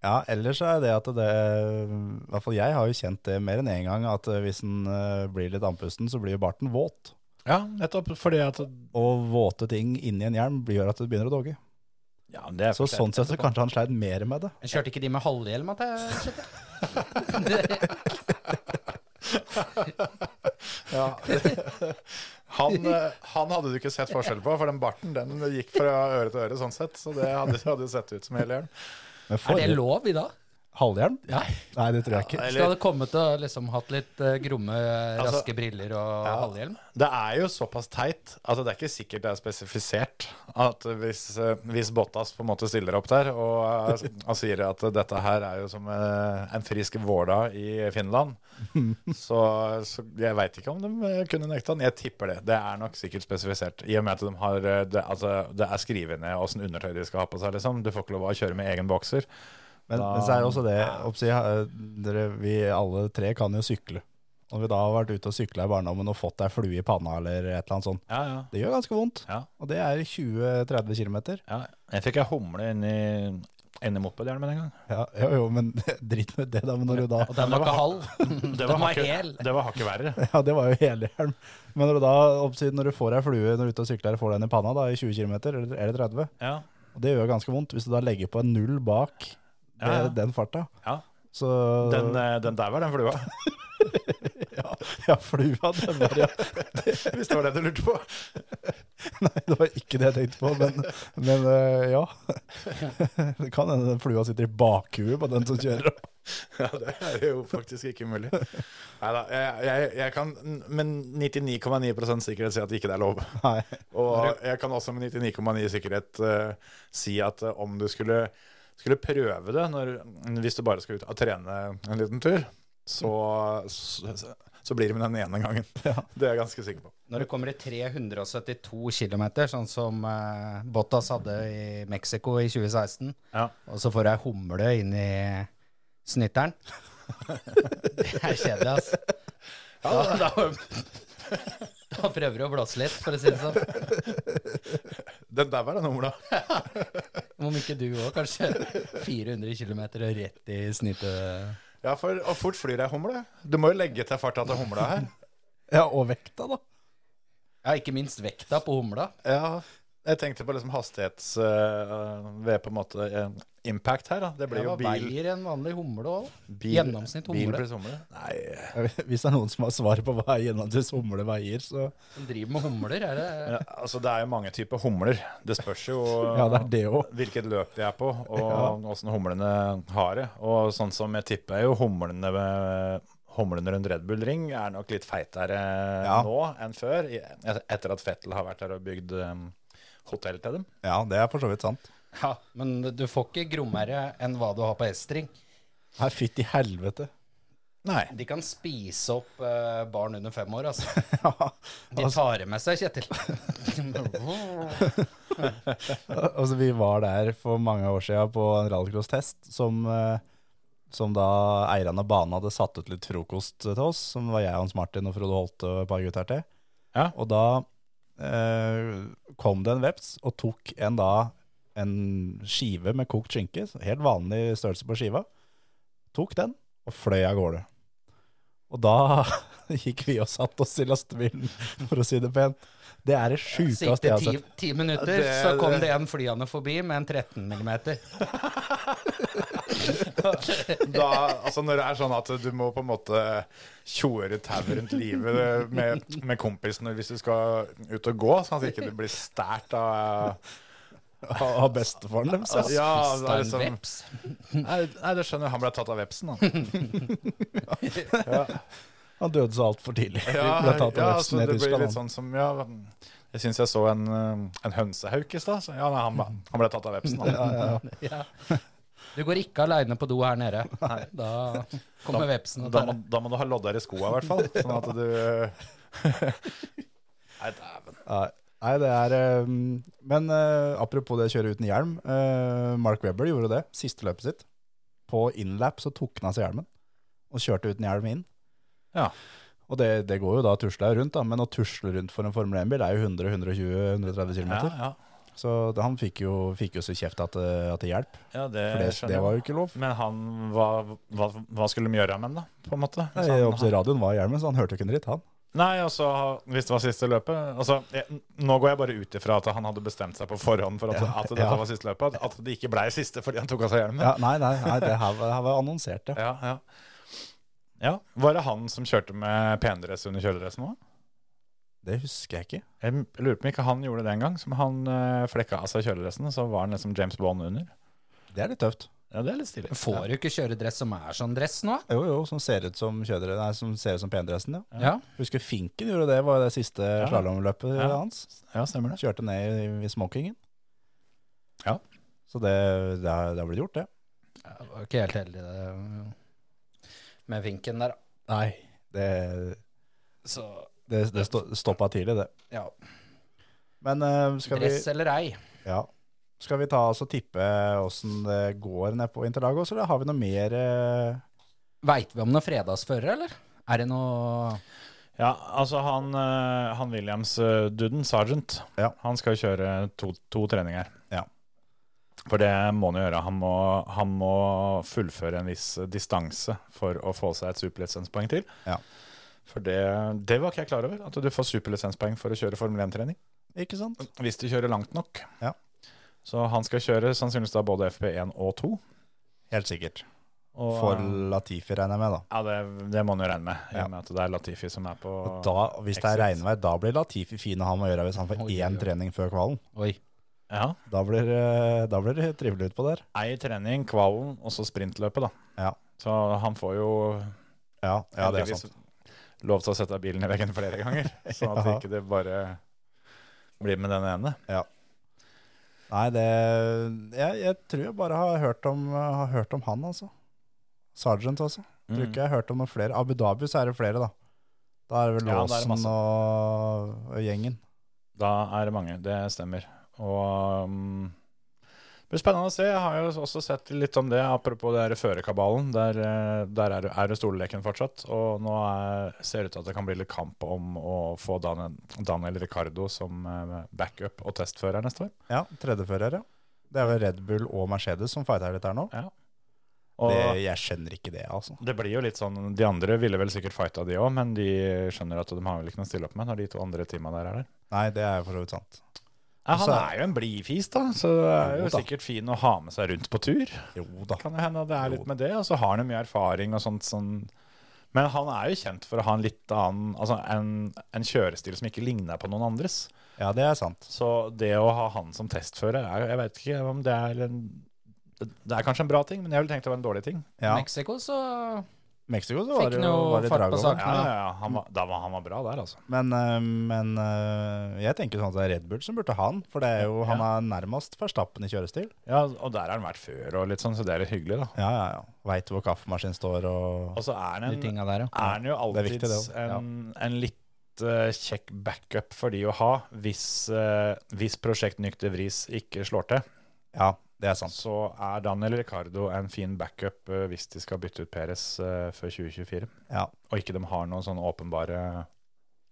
Speaker 4: Ja, ellers er det at det I hvert fall jeg har jo kjent det mer enn én gang, at eh, hvis en eh, blir litt andpusten, så blir jo barten våt.
Speaker 3: Ja, nettopp fordi at
Speaker 4: Og våte ting inni en hjelm gjør at det begynner å dogge.
Speaker 3: ja, det er
Speaker 4: Så sånn sett så kanskje han sleit mer med det.
Speaker 5: Men Kjørte ikke de med halvhjelm? at jeg skjønte?
Speaker 3: han, eh, han hadde du ikke sett forskjell på, for den barten den gikk fra øre til øre. sånn sett Så det hadde, hadde jo sett ut som hele hjelm.
Speaker 4: Men
Speaker 5: Er
Speaker 4: for
Speaker 5: det lov i dag?
Speaker 4: halvhjelm?
Speaker 5: Ja.
Speaker 4: Nei, det tror jeg ikke.
Speaker 5: Hvis du hadde kommet og liksom hatt litt eh, gromme, raske briller og halvhjelm?
Speaker 3: Det er jo såpass teit at det er ikke sikkert det er spesifisert at hvis, eh, hvis Bottas på en måte stiller opp der og, eh, og sier at dette her er jo som eh, en frisk vårdag i Finland, så, så jeg veit ikke om de eh, kunne nekta den. Jeg tipper det. Det er nok sikkert spesifisert. I og med at de har, eh, det, altså, det er skrevet ned åssen undertøy de skal ha på seg, liksom. Du får ikke lov å kjøre med egen bokser.
Speaker 4: Men,
Speaker 3: Da-
Speaker 4: men så er det også det oppsi, eh, dere, Vi alle tre kan jo sykle. Når vi da har vært ute og sykla i barndommen og fått ei flue i panna eller et eller annet sånt,
Speaker 3: Ja, ja.
Speaker 4: det gjør ganske vondt.
Speaker 3: Ja.
Speaker 4: Og det er 20-30 km.
Speaker 3: ja. Jeg fikk ei humle inni, inni mopedhjelmen en gang.
Speaker 4: Ja, jo, jo, men drit med det, da. Men når du da
Speaker 5: Og den var ikke halv.
Speaker 3: Det
Speaker 5: var
Speaker 3: hakket-
Speaker 5: hel.
Speaker 3: Det var hakket verre.
Speaker 4: Ja, det var jo hele hjelm. Men når du da oppsi, når du får ei flue når du er ute og sykler og får den i panna da, i 20 km, eller eller 30,
Speaker 3: Ja.
Speaker 4: og det gjør ganske vondt hvis du da legger på en null bak det,
Speaker 3: Ja, ja.
Speaker 4: den farta.
Speaker 3: Ja.
Speaker 4: Så
Speaker 3: Den, eh, den der var den flua,
Speaker 4: Ja, flua, den var ja.
Speaker 3: hvis det var det du lurte på.
Speaker 4: Nei, det var ikke det jeg tenkte på, men, men øh, ja. Det kan hende den flua sitter i bakhuet på den som kjører.
Speaker 3: Ja, det er jo faktisk ikke mulig. Nei da, jeg, jeg, jeg kan med 99,9 sikkerhet si at ikke det er lov.
Speaker 4: Nei.
Speaker 3: Og jeg kan også med 99,9 sikkerhet eh, si at eh, om du skulle, skulle prøve det når, hvis du bare skal ut og trene en liten tur, så, så, så blir det med den ene gangen. Det er jeg ganske sikker på.
Speaker 5: Når du kommer i 372 km, sånn som eh, Bottas hadde i Mexico i 2016,
Speaker 3: Ja.
Speaker 5: og så får du ei humle inn i snytteren Det er kjedelig, ass. Da, da, da prøver du å blåse litt, for å si det sånn.
Speaker 3: Den der var den humla.
Speaker 5: Om ikke du òg, kanskje. 400 km og rett i snittet.
Speaker 3: Ja, for og fort flyr ei humle. Du må jo legge til farta til humla her.
Speaker 4: Ja, og vekta, da.
Speaker 5: Ja, ikke minst vekta på humla.
Speaker 3: Ja, jeg tenkte på liksom hastighets øh, ved på en måte eh, impact her. da. Det
Speaker 5: Det
Speaker 3: blir jo
Speaker 5: var
Speaker 3: bil.
Speaker 5: veier en vanlig humle òg.
Speaker 3: bil
Speaker 5: Gjennomsnitt
Speaker 3: Bil
Speaker 5: humle.
Speaker 3: pluss humle. Nei,
Speaker 4: Hvis det er noen som har svaret på hva er gjennomsnitts humle veier, så
Speaker 5: Som driver med humler, er det
Speaker 3: men, altså det er jo mange typer humler. Det spørs jo
Speaker 4: ja, det er det òg.
Speaker 3: hvilket løp de er på, og åssen humlene har det. Og sånn som jeg tipper jo humlene ved Humlene rundt Red Bull Ring er nok litt feitere
Speaker 4: Ja.
Speaker 3: nå enn før, i- etter at Fettel har vært der og bygd um, hotell til dem.
Speaker 4: Ja, det er for så vidt sant.
Speaker 5: Ja, men du får ikke grommere enn hva du har på S-string.
Speaker 4: Nei, fytti helvete.
Speaker 3: Nei.
Speaker 5: De kan spise opp eh, barn under fem år, altså.
Speaker 4: Ja,
Speaker 5: De tar det med seg, Kjetil.
Speaker 4: altså, vi var der for mange år siden på en rallycross-test som, eh, som da eierne av banen hadde satt ut litt frokost til oss, som var jeg, Hans Martin og Frode Holte og et par gutter til.
Speaker 3: Ja.
Speaker 4: Og da eh, kom det en veps og tok en da en skive med kokt skinke, helt vanlig størrelse på skiva, tok den og fløy av gårde. Og da gikk vi og satt oss i lastebilen, for å si det pent. Det er det sjukeste jeg
Speaker 5: Sikte
Speaker 4: har
Speaker 5: ti,
Speaker 4: sett.
Speaker 5: ti minutter,
Speaker 3: Ja, det-
Speaker 5: så kom
Speaker 3: det-
Speaker 5: det en flyende forbi med en 13 millimeter.
Speaker 3: Da, altså når det er sånn at du må på en måte tjoere tau rundt livet med, med kompisen hvis du skal ut og gå, sånn at ikke du ikke blir stært av
Speaker 4: Av bestefaren deres.
Speaker 3: Altså,
Speaker 4: ass.
Speaker 3: ja, det er
Speaker 5: Stein
Speaker 3: liksom,
Speaker 5: Veps.
Speaker 3: nei, nei, det skjønner jeg. Han ble tatt av vepsen, da.
Speaker 4: Han døde så altfor tidlig.
Speaker 3: Ja,
Speaker 4: Ble tatt
Speaker 3: ja
Speaker 4: av
Speaker 3: altså,
Speaker 4: vepsen i
Speaker 3: det blir
Speaker 4: Tyskland.
Speaker 3: litt sånn som ja, Jeg syns jeg så en, eh, en hønsehauk i stad. så Ja, nei, han, ble- han ble tatt av vepsen. Han.
Speaker 5: Ja. Du går ikke aleine på do her nede. Da kommer vepsen og
Speaker 3: Da,
Speaker 5: tar
Speaker 3: må,
Speaker 5: deg.
Speaker 3: da må du ha lodder i skoa, i hvert fall. Sånn at du Nei, dæven.
Speaker 4: Nei, Nei, det er eh, Men eh, apropos det å kjøre uten hjelm. eh, Mark Webber gjorde det siste løpet sitt. På inlap så tok han av seg hjelmen og kjørte uten hjelm inn.
Speaker 3: Ja.
Speaker 4: Og det, det går jo da tusla rundt, da, men å tusle rundt for en Formel 1-bil er jo 100-120-130 km.
Speaker 3: Ja, ja.
Speaker 4: Så det, han fikk jo, fikk jo så kjeft at, det- at det hjelper.
Speaker 3: ja, det
Speaker 4: For det,
Speaker 3: skjønner
Speaker 4: det
Speaker 3: jeg.
Speaker 4: var jo ikke lov.
Speaker 3: Men han, hva, hva, hva skulle de gjøre med den, da? På en måte?
Speaker 4: Nei,
Speaker 3: Så han-
Speaker 4: opp til radioen var i hjelmen, så han hørte jo ikke en dritt, han.
Speaker 3: Nei, altså, hvis det var siste løpet altså, jeg, Nå går jeg bare ut ifra at han hadde bestemt seg på forhånd for at,
Speaker 4: Ja,
Speaker 3: at dette
Speaker 4: ja.
Speaker 3: var siste løpet. At det ikke blei siste fordi han tok av seg hjelmen.
Speaker 4: Ja, nei, nei, nei det, her, var- det her var annonsert, ja.
Speaker 3: Ja, ja. ja. Var det han som kjørte med pendress under kjøledressen òg?
Speaker 4: Det husker jeg ikke.
Speaker 3: Jeg m- lurer på om ikke han gjorde det en gang. Som han eh, flekka av seg kjøledressen, så var han liksom James Bond under.
Speaker 4: Det er litt tøft.
Speaker 3: Ja, det er litt stilig.
Speaker 5: Får du ikke kjøre dress som er sånn dress nå?
Speaker 4: Jo, jo, som ser ut som kjødere, nei, som ser ut som pendressen, ja.
Speaker 5: Ja.
Speaker 4: Husker Finken gjorde det, var det siste slalåmløpet
Speaker 3: Ja.
Speaker 4: hans.
Speaker 3: Ja, stemmer det.
Speaker 4: Kjørte ned i, i smokingen.
Speaker 3: Ja.
Speaker 4: Så det, det, har, det har blitt gjort, det.
Speaker 5: Jeg var ikke helt heldig det, um, med finken der, da.
Speaker 4: Nei. Det,
Speaker 5: så
Speaker 4: det, det sto- stoppa tidlig, det.
Speaker 5: ja.
Speaker 4: Men eh, skal vi,
Speaker 5: Dress eller ei.
Speaker 4: ja. skal vi ta oss og tippe åssen det går nede på Interlagos, eller har vi noe mer eh,
Speaker 5: Veit vi om noen fredagsfører, eller? Er det noe
Speaker 3: Ja, altså han, eh, han Williams-duden, Sergeant,
Speaker 4: Ja.
Speaker 3: han skal jo kjøre to, to treninger.
Speaker 4: Ja.
Speaker 3: For det må han jo gjøre. Han må, han må fullføre en viss distanse for å få seg et superlisenspoeng til.
Speaker 4: Ja.
Speaker 3: For det, det var ikke jeg klar over, at du får superlisenspoeng for å kjøre Formel 1-trening.
Speaker 4: Ikke sant?
Speaker 3: Hvis du kjører langt nok.
Speaker 4: Ja.
Speaker 3: Så han skal kjøre sannsynligvis da både FP1 og 2.
Speaker 4: Helt sikkert.
Speaker 3: Og, eh,
Speaker 4: For Latifi regner jeg med, da.
Speaker 3: ja, det, det må han jo regne med, i
Speaker 4: Ja.
Speaker 3: og med at det er Latifi som er på
Speaker 4: Og da, hvis det er
Speaker 3: Exit.
Speaker 4: regnvær, da blir Latifi fin å ha med å gjøre hvis han får
Speaker 5: Oi, oi,
Speaker 4: én
Speaker 5: oi.
Speaker 4: trening før kvalen.
Speaker 5: Oi.
Speaker 3: Ja.
Speaker 4: Da blir, eh, da blir det trivelig utpå der.
Speaker 3: Ei trening, kvalen og så sprintløpet, da.
Speaker 4: Ja.
Speaker 3: Så han får jo
Speaker 4: Ja, ja det er
Speaker 3: heldigvis
Speaker 4: sant.
Speaker 3: lov til å sette bilen i veggen flere ganger, sånn at
Speaker 4: Ja.
Speaker 3: ikke det bare blir med den ene.
Speaker 4: Nei, det jeg, jeg tror jeg bare har hørt om, har hørt om han, altså. Sergeant, altså. Tror
Speaker 3: Mm.
Speaker 4: ikke jeg har hørt om noen flere. Abu Dhabi så er det flere, da. Da er det vel
Speaker 3: Ja, da er det
Speaker 4: Lawson
Speaker 3: masse.
Speaker 4: og, og gjengen.
Speaker 3: Da er det mange, det stemmer. Og um, det blir spennende å se. Jeg har jo også sett litt om det, apropos det der førerkabalen. Der, eh, der er, er det stoleleken fortsatt, og nå er, ser det ut til at det kan bli litt kamp om å få Dan, Daniel Ricardo som eh, backup og testfører neste år.
Speaker 4: Ja, tredjefører, ja. Det er vel Red Bull og Mercedes som fighter litt her nå.
Speaker 3: Og,
Speaker 4: Det, jeg skjønner ikke det, altså.
Speaker 3: Det blir jo litt sånn, De andre ville vel sikkert fighta, de òg, men de skjønner at de har vel ikke noe å stille opp med når de to andre teama der er der.
Speaker 4: Nei, det er for så vidt sant.
Speaker 3: Ja, han
Speaker 4: Så-
Speaker 3: er jo en blid fis, da, så det er
Speaker 4: Jo
Speaker 3: jo
Speaker 4: da.
Speaker 3: sikkert fin å ha med seg rundt på tur.
Speaker 4: Jo da.
Speaker 3: Kan jo hende det er litt med det, og så har han jo mye erfaring og sånt. Sånn. Men han er jo kjent for å ha en litt annen Altså en, en kjørestil som ikke ligner på noen andres.
Speaker 4: Ja, det er sant.
Speaker 3: Så det å ha han som testfører, er, jeg vet ikke om det er en Det er kanskje en bra ting, men jeg ville tenkt det var en dårlig ting.
Speaker 4: Ja,
Speaker 5: Mexico, så
Speaker 4: Mexico så var
Speaker 5: Fikk
Speaker 4: det jo
Speaker 5: noe
Speaker 4: var det
Speaker 5: fart på
Speaker 4: drag over.
Speaker 5: saken.
Speaker 3: Ja, ja, ja, han var, da var, han var bra der, altså.
Speaker 4: Men, eh, men eh, jeg tenker sånn at det er Red Bull som burde ha han, for det er jo, han
Speaker 3: Ja.
Speaker 4: er nærmest Verstappen i kjørestil.
Speaker 3: Ja, og der har han vært før, og litt sånn, så det er litt hyggelig, da.
Speaker 4: Ja, ja, ja. Veit hvor kaffemaskinen står og
Speaker 3: Og så er han,
Speaker 5: de
Speaker 3: en,
Speaker 5: tinga der, ja.
Speaker 3: er han jo
Speaker 4: Det er
Speaker 3: alltid
Speaker 4: viktig, det også. Ja.
Speaker 3: en, en litt eh, kjekk backup for de å ha, hvis, eh, hvis prosjekt Nykter Vris ikke slår til.
Speaker 4: Ja, det er sant.
Speaker 3: Så er Daniel Ricardo en fin backup eh, hvis de skal bytte ut Peres eh, før 2024,
Speaker 4: Ja.
Speaker 3: og ikke de har noen sånne åpenbare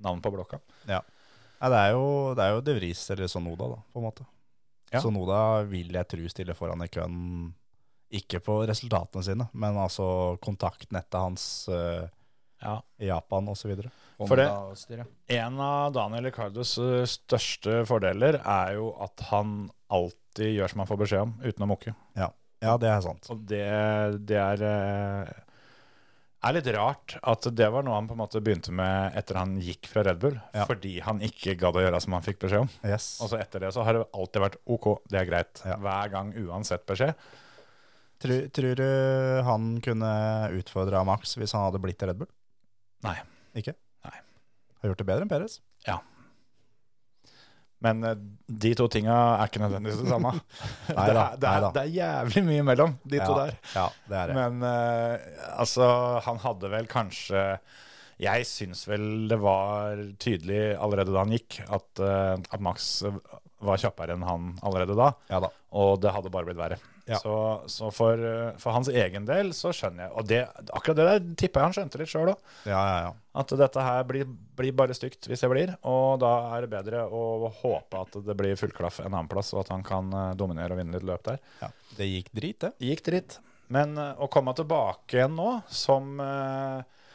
Speaker 3: navn på blokka.
Speaker 4: Nei, det, er jo, det er jo De Vries eller Sonoda, da, på en måte.
Speaker 3: Ja.
Speaker 4: Sonoda vil jeg tro stiller foran i køen, ikke på resultatene sine, men altså kontaktnettet hans, eh,
Speaker 3: Ja.
Speaker 4: Japan osv.
Speaker 3: For det-
Speaker 5: Honda-styret.
Speaker 3: En av Daniel Ricardos eh, største fordeler er jo at han alltid gjør som han får beskjed om, uten å mukke.
Speaker 4: Ja. ja, det er sant.
Speaker 3: Og det, det er, eh, er litt rart at det var noe han på en måte begynte med etter han gikk fra Red Bull,
Speaker 4: Ja.
Speaker 3: fordi han ikke gadd å gjøre som han fikk beskjed om.
Speaker 4: Yes.
Speaker 3: Og så etter det så har det alltid vært OK, det er greit.
Speaker 4: Ja.
Speaker 3: Hver gang, uansett beskjed.
Speaker 4: Tror, tror du han kunne utfordra Max hvis han hadde blitt Red Bull?
Speaker 3: Nei.
Speaker 4: Ikke?
Speaker 3: Nei.
Speaker 4: Har gjort det bedre enn Perez?
Speaker 3: Men eh, de to tinga er ikke nødvendigvis det samme.
Speaker 4: Nei
Speaker 3: det, er,
Speaker 4: da,
Speaker 3: det,
Speaker 4: nei
Speaker 3: er,
Speaker 4: da.
Speaker 3: det er jævlig mye imellom, de to
Speaker 4: ja,
Speaker 3: der.
Speaker 4: Ja, det er det.
Speaker 3: Men eh, altså, han hadde vel kanskje Jeg syns vel det var tydelig allerede da han gikk, at, eh, at Max var kjappere enn han allerede da.
Speaker 4: ja da.
Speaker 3: Og det hadde bare blitt verre.
Speaker 4: Ja.
Speaker 3: Så, så for, eh, for hans egen del så skjønner jeg Og det, akkurat det der tipper jeg han skjønte litt sjøl òg.
Speaker 4: Ja, ja, ja.
Speaker 3: At dette her blir, blir bare stygt hvis jeg blir. Og da er det bedre å håpe at det blir full klaff en annen plass, og at han kan eh, dominere og vinne litt løp der.
Speaker 4: ja. Det gikk drit, det.
Speaker 3: Gikk dritt. Men eh, å komme tilbake igjen nå som eh,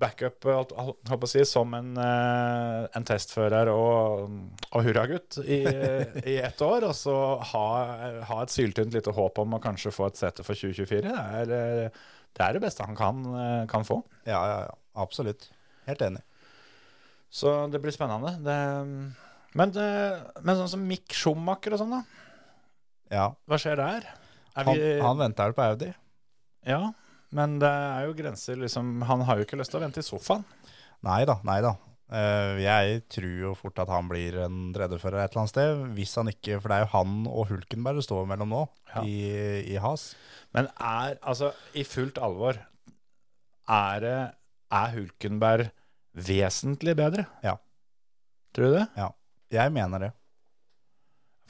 Speaker 3: backup, eh, alt- alt- holdt på å si, som en, eh, en testfører og, og hurragutt i, i ett år, og så ha, ha et syltynt lite håp om å kanskje få et sete for 2024, det er eh, det, er det beste han kan, eh, kan få.
Speaker 4: Ja, ja, ja. Absolutt. Helt enig.
Speaker 3: Så det blir spennende. Det, men, det, men sånn som Mick Schumacher og sånn, da.
Speaker 4: Ja.
Speaker 3: Hva skjer der? Er
Speaker 4: Han, han venta vel på Audi.
Speaker 3: Ja, men det er jo grenser, liksom. Han har jo ikke lyst til å vente i sofaen.
Speaker 4: Nei da, nei da. Eh, jeg tror jo fort at han blir en tredjefører et eller annet sted. Hvis han ikke, for det er jo han og Hulkenberg det står mellom nå,
Speaker 3: Ja.
Speaker 4: i, i Has.
Speaker 3: Men er, altså, i fullt alvor, er, det- er Hulkenberg vesentlig bedre?
Speaker 4: Ja.
Speaker 3: Tror du det?
Speaker 4: Jeg mener det.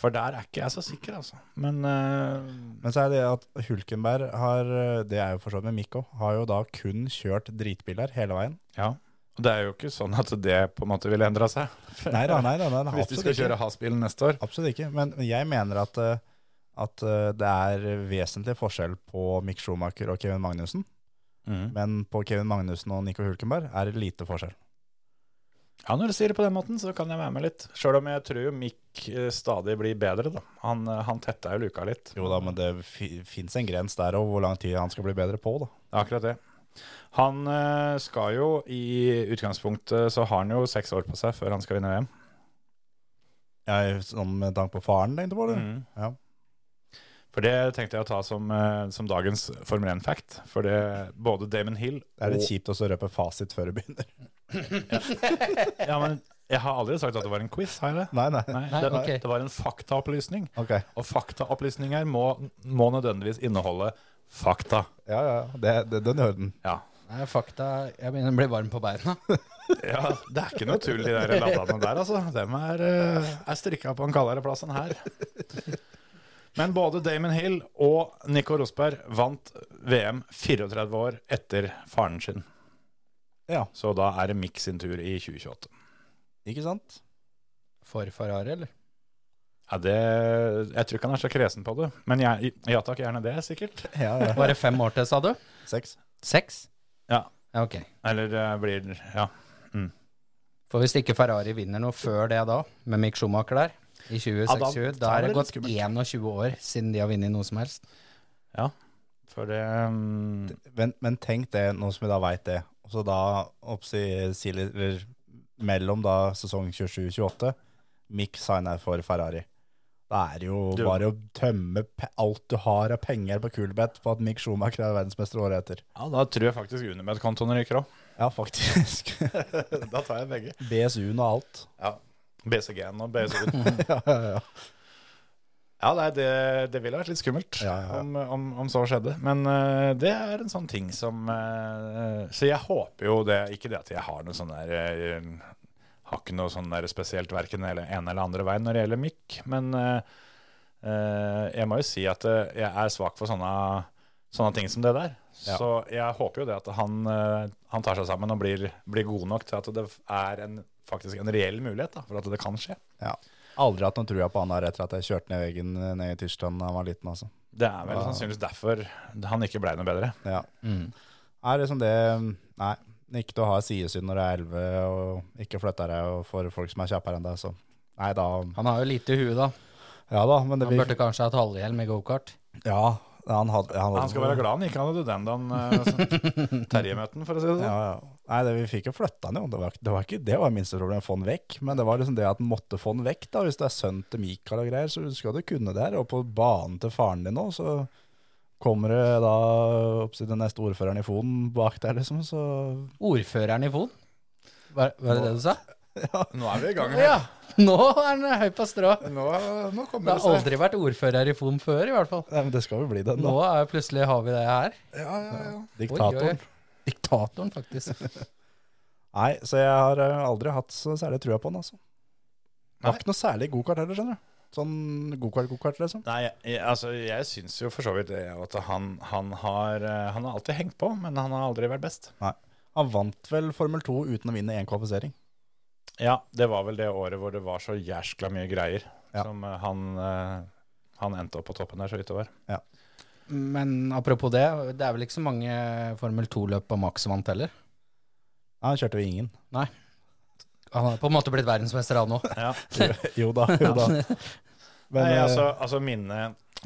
Speaker 3: For der er ikke jeg så sikker, altså. Men eh,
Speaker 4: Men så er det at Hulkenberg har, eh, det er jo for så vidt med Mikko, har jo da kun kjørt dritbiler hele veien.
Speaker 3: ja. Og det er jo ikke sånn at det på en måte ville endra seg.
Speaker 4: Nei da, nei da. Nei, da
Speaker 3: Hvis de skal
Speaker 4: absolutt ikke.
Speaker 3: kjøre Has-bilen neste år.
Speaker 4: Absolutt ikke, men jeg mener at, eh, at eh, det er vesentlig forskjell på Mick Schumacher og Kevin Magnussen. Men på Kevin Magnussen og Nico Hulkenberg er det lite forskjell.
Speaker 3: Ja, når du sier det på den måten, så kan jeg være med litt. Sjøl om jeg tror jo Mick eh, stadig blir bedre, da. Han, eh, han tetta jo luka litt.
Speaker 4: Jo da, men det fins en grens der og hvor lang tid han skal bli bedre på, da.
Speaker 3: Det er akkurat det. Han eh, skal jo i utgangspunktet så har han jo seks år på seg før han skal vinne VM.
Speaker 4: Jeg, sånn med tanke på faren, tenkte du på det?
Speaker 3: Mm.
Speaker 4: Ja.
Speaker 3: For det tenkte jeg å ta som, eh, som dagens Formel 1-fact. For det, både Damon Hill
Speaker 4: Det er litt
Speaker 3: og-
Speaker 4: kjipt å så røpe fasit før du begynner.
Speaker 3: Ja, men jeg har aldri sagt at det var en quiz, har jeg det?
Speaker 4: Nei, nei.
Speaker 3: Nei,
Speaker 5: Nei,
Speaker 3: det,
Speaker 5: ok.
Speaker 3: det var en faktaopplysning.
Speaker 4: Ok.
Speaker 3: Og faktaopplysninger må, må nødvendigvis inneholde fakta.
Speaker 4: Ja, ja. Det, det, den gjør den.
Speaker 3: Ja.
Speaker 5: Nei, fakta Jeg begynner å bli varm på beina.
Speaker 3: ja. Det er ikke noe tull, de der laddene der, altså. Dem er, eh, er strikka på en kaldere plass enn her. Men både Damon Hill og Nico Rosberg vant VM 34 år etter faren sin.
Speaker 4: Ja.
Speaker 3: Så da er det Mick sin tur i 2028.
Speaker 4: Ikke sant?
Speaker 5: For Ferrari, eller?
Speaker 3: Ja, det, jeg tror ikke han er så kresen på det, men jeg, ja takk, gjerne det, sikkert.
Speaker 4: Ja, ja.
Speaker 5: Var det fem år til, sa du?
Speaker 4: Seks.
Speaker 5: Seks?
Speaker 3: Ja.
Speaker 5: ja ok.
Speaker 3: Eller eh, blir Ja.
Speaker 5: For hvis ikke Ferrari vinner noe før det da, med Mick Schumacher der, i 2026,
Speaker 3: Ja, da-
Speaker 5: da,
Speaker 3: da blir
Speaker 5: er det
Speaker 3: det
Speaker 5: gått
Speaker 3: litt
Speaker 5: 21 år siden de har vunnet noe som helst.
Speaker 3: For det mm,
Speaker 4: Men, men tenk det, nå som vi da veit det. Og så da oppsi, si, eller, mellom da sesong 27-28, Mick signer for Ferrari. Da er det jo
Speaker 3: Du-
Speaker 4: bare å tømme pe- alt du har av penger på Kulbeth på at Mick Schumacher er verdensmester året etter.
Speaker 3: Ja, da tror jeg faktisk Unimed-kontoen ryker òg.
Speaker 4: Ja, faktisk.
Speaker 3: da tar jeg begge.
Speaker 4: BSU-en og alt.
Speaker 3: Ja. BCG-en og BSU-en.
Speaker 4: Ja, ja, ja.
Speaker 3: Ja, nei, det, det ville vært litt skummelt
Speaker 4: Ja, ja, ja.
Speaker 3: Om, om, om så skjedde. Men eh, det er en sånn ting som eh, Så jeg håper jo det Ikke det at jeg har noe sånn der eh, Har ikke noe sånn der spesielt verken den ene eller andre veien når det gjelder mikk, men eh, eh, jeg må jo si at eh, jeg er svak for sånne, sånne ting som det der.
Speaker 4: Ja.
Speaker 3: Så jeg håper jo det at han, eh, han tar seg sammen og blir, blir god nok til at det er en, faktisk en reell mulighet da, for at det kan skje.
Speaker 4: ja. Aldri hatt noen trua på han her etter at jeg kjørte ned veggen eh, ned i Tyskland da jeg var liten, altså.
Speaker 3: Det er vel
Speaker 4: Ja. Mm.
Speaker 3: sannsynligvis derfor han ikke ble noe bedre.
Speaker 4: Ja. Er det som det liksom Nei. Ikke til å ha sidesyn når du er 11 og ikke flytter deg og for folk som er kjappere enn deg. Så nei da.
Speaker 5: Han har jo lite hue, da.
Speaker 4: Ja da, men det
Speaker 5: Han
Speaker 4: blir
Speaker 5: burde kanskje hatt halvhjelm i gokart.
Speaker 4: Ja, han hadde, han hadde
Speaker 3: Han skal være glad han ikke hadde den da han eh, Terje-møten, for å si det sånn.
Speaker 4: Ja, ja. Nei, det, vi fikk jo flytta han jo. Det var, det var ikke det var minste problemet, få han vekk. Men det var liksom det at han måtte få han vekk. da, Hvis det er sønnen til Mikael og greier, så skal du kunne det her. Og på banen til faren din nå, så kommer det da opp til den neste ordføreren i fonen bak der, liksom. Så
Speaker 5: Ordføreren i Fon. Var, var det det du sa?
Speaker 3: Nå er vi i gang.
Speaker 5: Ja! Nå er han høy på strå.
Speaker 3: Nå, nå
Speaker 5: Det
Speaker 3: kommer
Speaker 5: har aldri vært ordfører i Fon før, i hvert fall.
Speaker 4: Nei, men det skal jo bli den,
Speaker 5: Nå
Speaker 4: da.
Speaker 5: er plutselig har vi det her.
Speaker 3: Ja, ja, ja.
Speaker 5: Oi, oi, oi.
Speaker 4: Diktatoren.
Speaker 5: Diktatoren, faktisk.
Speaker 4: Nei, så jeg har eh, aldri hatt så særlig trua på han, altså. Det
Speaker 3: Nei.
Speaker 4: var ikke noe særlig gokart heller, skjønner du. Sånn gokart-gokart, liksom.
Speaker 3: Nei, jeg, altså, jeg syns jo for så vidt det at han, han, har, eh, han har alltid hengt på, men han har aldri vært best.
Speaker 4: Han vant vel Formel 2 uten å vinne én kvalifisering.
Speaker 3: Ja, det var vel det året hvor det var så jæskla mye greier
Speaker 4: Ja.
Speaker 3: som eh, han, eh, han endte opp på toppen der så vidt det var.
Speaker 5: Men apropos det, det er vel ikke så mange Formel 2-løp og Max vant heller.
Speaker 4: Nei, han kjørte jo ingen.
Speaker 5: Han har på en måte blitt verdensmester, han òg.
Speaker 3: Ja.
Speaker 4: Jo da, jo da. Men,
Speaker 3: Nei,
Speaker 4: eh,
Speaker 3: altså, altså mine,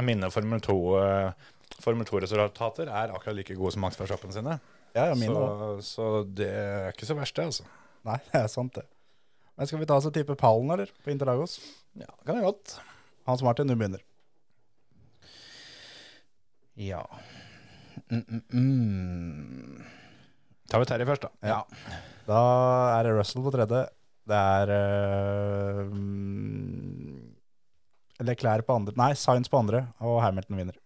Speaker 3: mine Formel 2 eh, Formel 2-resultater er akkurat like gode som Max Verstappen sine.
Speaker 4: ja, ja, mine
Speaker 3: Så,
Speaker 4: også.
Speaker 3: så det er ikke så verst, det, altså.
Speaker 4: Nei, det er sant det. Men skal vi ta oss og tippe pallen, eller? På Interlagos.
Speaker 3: Ja, det kan jeg godt.
Speaker 4: Hans Martin, du begynner.
Speaker 5: Ja. Mm, mm, mm.
Speaker 3: Tar vi Terje først, da.
Speaker 5: ja.
Speaker 4: Da er det Russell på tredje. Det er eh, mm, Leclerc på andre. Nei, Sainz på andre, og Hamilton vinner.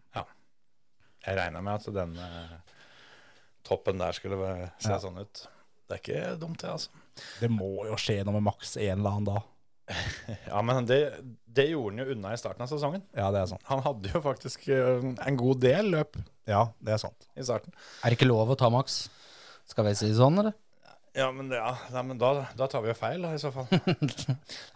Speaker 3: Jeg regna med at den eh, toppen der skulle være- se
Speaker 4: Ja.
Speaker 3: sånn ut. Det er ikke dumt, det, altså.
Speaker 4: Det må jo skje noe med maks en eller annen da.
Speaker 3: Ja, men det, det gjorde han jo unna i starten av sesongen.
Speaker 4: Ja, det er sant.
Speaker 3: Han hadde jo faktisk eh, en god del løp
Speaker 4: Ja, det er sant.
Speaker 3: i starten.
Speaker 5: Er det ikke lov å ta Max? Skal vi si det sånn, eller?
Speaker 3: Ja, men, det- ja, nei, men da, da tar vi jo feil, da, i så fall.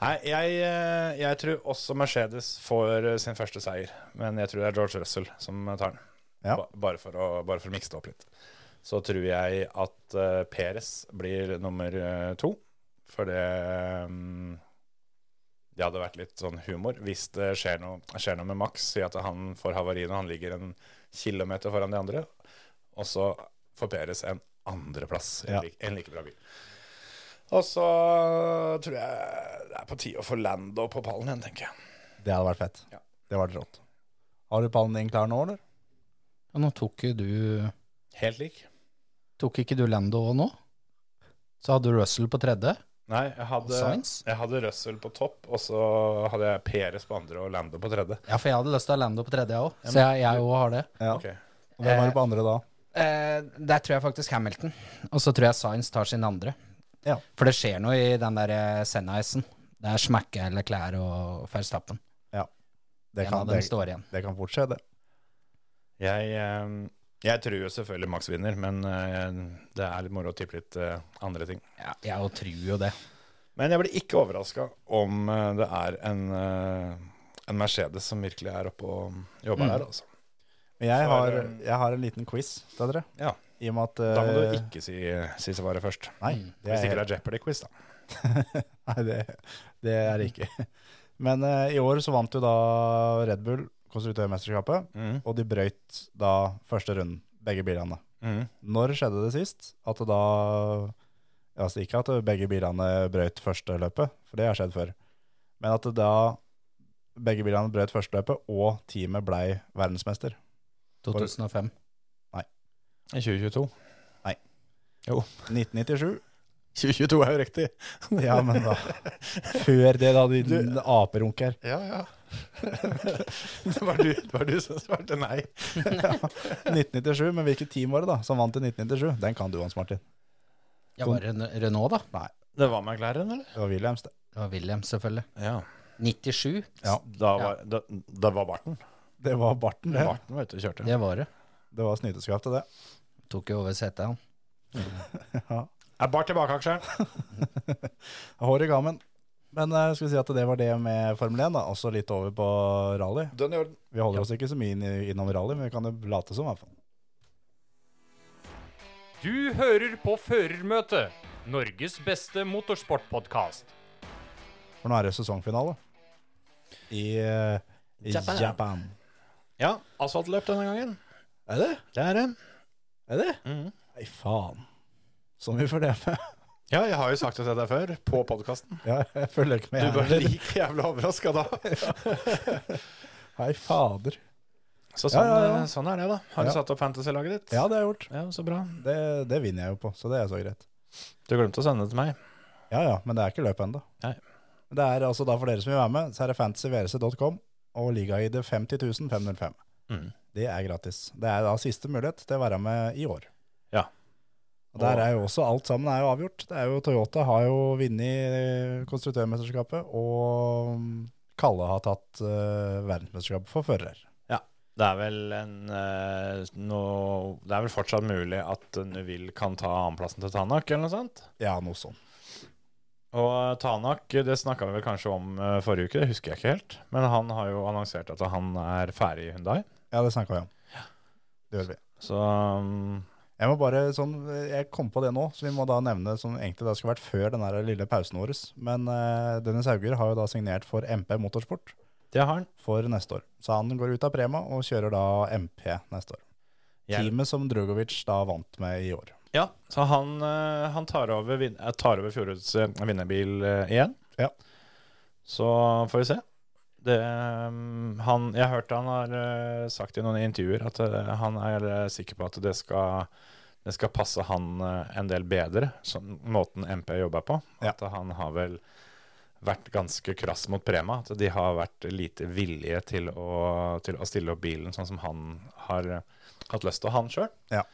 Speaker 3: Nei, jeg, eh, jeg tror også Mercedes får eh, sin første seier. Men jeg tror det er George Russell som tar den.
Speaker 4: Ja.
Speaker 3: Ba, bare, for å, bare for å mikse det opp litt. Så tror jeg at eh, Perez blir nummer eh, to. For det mm, Det hadde vært litt sånn humor hvis det skjer noe, skjer noe med Max. Si at han får havari når han ligger en kilometer foran de andre. Og så får Perez en andreplass. En,
Speaker 4: Ja.
Speaker 3: like, en like bra bil. Og så tror jeg det er på tide å få Lando på pallen igjen, tenker jeg.
Speaker 4: Det hadde vært fett.
Speaker 3: Ja.
Speaker 4: Det var rått. Har du pallen din klar nå, eller?
Speaker 5: Ja, nå tok jo du
Speaker 3: Helt lik.
Speaker 5: Tok ikke du Lando òg nå? Så hadde du Russell på tredje.
Speaker 3: Nei, jeg
Speaker 5: Og
Speaker 3: hadde,
Speaker 5: Sainz?
Speaker 3: jeg hadde Russell på topp, og så hadde jeg Peres på andre og Lando på tredje.
Speaker 5: Ja, for jeg hadde lyst til å ha Lando på tredje, jeg òg. Så jeg jeg òg har det.
Speaker 4: Ja.
Speaker 3: Ok.
Speaker 4: Og Hvem var du på andre da?
Speaker 5: Eh, der tror jeg faktisk Hamilton. Og så tror jeg Sainz tar sin andre.
Speaker 4: Ja.
Speaker 5: For det skjer noe i den der eh, Senna-isen. Der smekker eller klær og Verstappen.
Speaker 4: Det
Speaker 5: En
Speaker 4: kan,
Speaker 5: av dem
Speaker 4: det,
Speaker 5: står igjen.
Speaker 4: det kan fort skje, det.
Speaker 3: Jeg, eh, jeg tror jo selvfølgelig Max vinner, men eh, det er litt moro å tippe litt eh, andre ting.
Speaker 5: Ja, jeg jo tror jo det.
Speaker 3: Men jeg blir ikke overraska om eh, det er en, eh, en Mercedes som virkelig er oppe og jobber der, altså.
Speaker 4: Men jeg
Speaker 3: For,
Speaker 4: har,
Speaker 3: eh,
Speaker 4: jeg har en liten quiz til dere.
Speaker 3: Ja.
Speaker 4: I og med at
Speaker 3: Da må du
Speaker 4: eh,
Speaker 3: ikke si, si svaret først.
Speaker 4: Nei, det
Speaker 3: Hvis ikke
Speaker 4: er,
Speaker 3: det er Jeopardy-quiz, da.
Speaker 4: nei, det, det er det ikke. Men eh, i år så vant jo da Red Bull konstruktørmesterskapet,
Speaker 3: Mm.
Speaker 4: og de brøyt da første runden, begge bilene.
Speaker 3: Mhm.
Speaker 4: Når skjedde det sist? At det da Altså ikke at begge bilene brøyt første løpet, for det har skjedd før. Men at det da begge bilene brøyt første løpet, og teamet blei verdensmester.
Speaker 5: 2005.
Speaker 3: 2022.
Speaker 4: 1997.
Speaker 3: 2022 er jo riktig.
Speaker 4: Ja, men da Før det, da, din aperunk her.
Speaker 3: Ja, ja. det, var du, det var du som svarte nei.
Speaker 4: 1997, men hvilket team var det da som vant i 1997? Den kan du, Hans Martin.
Speaker 5: Ja, var det Ren- Renault, da?
Speaker 3: Det var McLaren, eller?
Speaker 4: Det var Williams, det.
Speaker 5: Det var William, selvfølgelig.
Speaker 3: Ja.
Speaker 5: 97,
Speaker 3: Da var, Da, da var Barten.
Speaker 4: Det var Barten, det.
Speaker 3: Barten var ute og kjørte.
Speaker 5: det var det.
Speaker 4: Det var snyteskap til det.
Speaker 5: Tok jo over setet, han.
Speaker 3: Er Bart tilbake, aksjeren?
Speaker 4: Hår i gammen. Men eh, skal vi si at det var det med Formel 1, da. Også litt over på rally.
Speaker 3: Den i orden.
Speaker 4: Vi holder oss ikke så mye inn- innom rally, men vi kan jo late som, i hvert fall.
Speaker 6: Du hører på Førermøtet, Norges beste motorsportpodkast.
Speaker 4: For nå er det sesongfinale i, eh, i
Speaker 5: Japan.
Speaker 4: Japan.
Speaker 3: Ja, asfaltløp denne gangen.
Speaker 4: Er det?
Speaker 3: Det er det.
Speaker 4: Er det?
Speaker 3: Mm.
Speaker 4: Nei, faen. Som vi får det med.
Speaker 3: Ja, jeg har jo sagt det til deg før, på podkasten.
Speaker 4: Ja, jeg følger ikke
Speaker 3: Du
Speaker 4: med. jeg
Speaker 3: ble
Speaker 4: heller.
Speaker 3: like jævla overraska da.
Speaker 4: Hei, fader.
Speaker 3: Så sånn,
Speaker 4: Ja, ja, ja.
Speaker 3: sånn er det, da. Har du
Speaker 4: Ja.
Speaker 3: satt opp fantasy-laget ditt?
Speaker 4: Ja, det har jeg gjort.
Speaker 3: Ja, Så bra.
Speaker 4: Det, det vinner jeg jo på, så det er så greit.
Speaker 3: Du glemte å sende det til meg.
Speaker 4: Ja, ja, men det er ikke løp ennå.
Speaker 3: Nei.
Speaker 4: Det er altså da for dere som vil være med, så er det fantasyvrc.com og ligaid 50505.
Speaker 3: Mhm.
Speaker 4: Det er gratis. Det er da siste mulighet til å være med i år.
Speaker 3: Ja.
Speaker 4: Og der er jo også alt sammen er jo avgjort. Det er jo Toyota har jo vunnet eh, konstruktørmesterskapet, og mm, Kalle har tatt eh, verdensmesterskapet for fører.
Speaker 3: Det er vel en eh, noe- Det er vel fortsatt mulig at Nuvill kan ta annenplassen til Tanak, eller noe sånt?
Speaker 4: Ja, noe sånt.
Speaker 3: Og Tanak, det snakka vi vel kanskje om eh, forrige uke, det husker jeg ikke helt. Men han har jo annonsert at han er ferdig i Hyundai.
Speaker 4: Ja, det snakka vi om. Det gjør vi.
Speaker 3: Så um,
Speaker 4: Jeg må bare sånn, jeg kom på det nå, så vi må da nevne som egentlig det skulle vært før den der lille pausen vår. Men eh, Dennis Hauger har jo da signert for MP Motorsport
Speaker 3: det har han.
Speaker 4: for neste år. Så han går ut av Prema og kjører da MP neste år.
Speaker 3: Jeg,
Speaker 4: Teamet som Drugovic da vant med i år.
Speaker 3: ja, så han, eh, han tar over, vin- eh, tar over fjorårets eh, vinnerbil eh, igjen.
Speaker 4: Ja.
Speaker 3: Så får vi se. Det, um, han, jeg har hørt han har eh, sagt i noen intervjuer at eh, han er eh, sikker på at det skal, det skal passe han eh, en del bedre, sånn måten MP jobber på.
Speaker 4: Ja.
Speaker 3: At han har vel vært ganske krass mot Prema. At de har vært lite villige til å, til å stille opp bilen sånn som han har eh, hatt lyst til, han sjøl.
Speaker 4: Ja.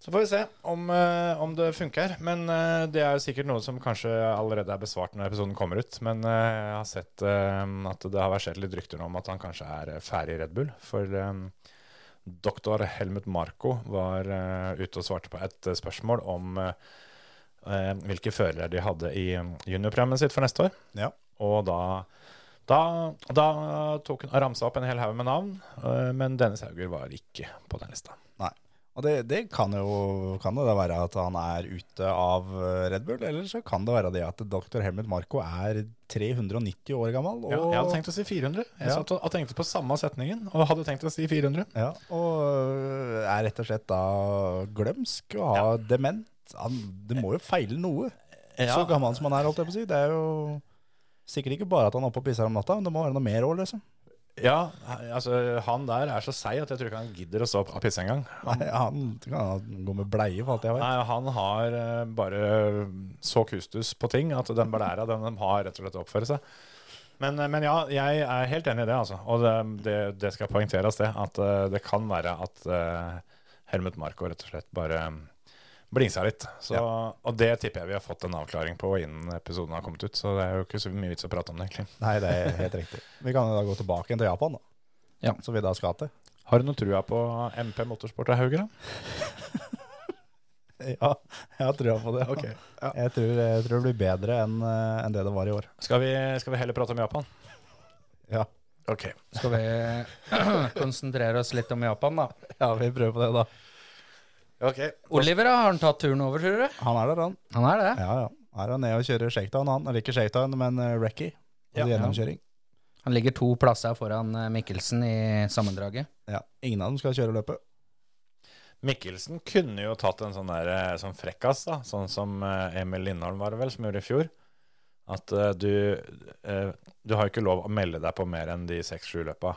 Speaker 3: Så får vi se om, eh, om det funker. Men eh, det er jo sikkert noe som kanskje allerede er besvart når episoden kommer ut. Men eh, jeg har sett eh, at det har versert litt rykter nå om at han kanskje er eh, ferdig i Red Bull. For eh, Doktor Helmut Marko var eh, ute og svarte på et eh, spørsmål om eh, eh, hvilke førere de hadde i eh, juniorprogrammet sitt for neste år.
Speaker 4: Ja.
Speaker 3: Og da, da, da tok hun ramsa opp en hel haug med navn, eh, men Dennis Hauger var ikke på den lista.
Speaker 4: Og det, det kan jo kan jo det være at han er ute av eh, Red Bull, eller så kan det være det at dr. Helmut Marko er 390 år gammel. Og,
Speaker 3: Ja, jeg hadde tenkt å si 400. Jeg
Speaker 4: Ja.
Speaker 3: satt og og tenkte på samme setningen og hadde tenkt å si 400.
Speaker 4: Ja, og er rett og slett da glømsk og har dement. Han, det må jo feile noe. Så gammel som han er, holdt jeg på å si. Det er jo sikkert ikke bare at han er oppe og pisser om natta, men det må være noe mer òg, liksom.
Speaker 3: Ja, altså Han der er så seig at jeg tror ikke han gidder å stå opp og pisse engang.
Speaker 4: Nei, han kan gå med bleie, for alt jeg vet.
Speaker 3: Nei, Han har eh, bare så kustus på ting at den blæra den de har rett og slett å oppføre seg. Men, eh, men ja, jeg er helt enig i det, altså. Og det, det, det skal poengteres, det. At eh, det kan være at eh, Helmut Marko rett og slett bare blingsa litt. Så, Og det tipper jeg vi har fått en avklaring på innen episoden har kommet ut. Så det er jo ikke så mye vits å prate om det, egentlig.
Speaker 4: Nei, det er helt riktig. Vi kan jo da gå tilbake igjen til Japan, da.
Speaker 3: Ja.
Speaker 4: Som vi da skal til.
Speaker 3: Har du noe trua på MP Motorsport og Hauger, da?
Speaker 4: Ja, jeg har trua på det.
Speaker 3: Ok, ja.
Speaker 4: Jeg, tror, jeg tror det blir bedre enn eh, enn det det var i år.
Speaker 3: Skal vi, skal vi heller prate om Japan?
Speaker 4: Ja.
Speaker 3: Ok.
Speaker 5: Skal vi konsentrere oss litt om Japan, da?
Speaker 4: ja, vi prøver på det, da.
Speaker 5: Oliver, da, har han tatt turen over, tror du?
Speaker 4: Han er der, han.
Speaker 5: Han er det.
Speaker 4: Ja, ja. Her er han nede og kjører shakedown, han. Eller ikke shakedown, men uh, recce.
Speaker 3: Ja.
Speaker 4: Altså gjennomkjøring.
Speaker 5: Han ligger to plasser foran eh, Mikkelsen i sammendraget.
Speaker 4: Ja. Ingen av dem skal kjøre løpet.
Speaker 3: Mikkelsen kunne jo tatt en sånn der, eh, sånn frekkas, da, sånn som eh, Emil Lindholm var det vel, som gjorde i fjor. At eh, du, eh, du har jo ikke lov å melde deg på mer enn de seks-sju løpa.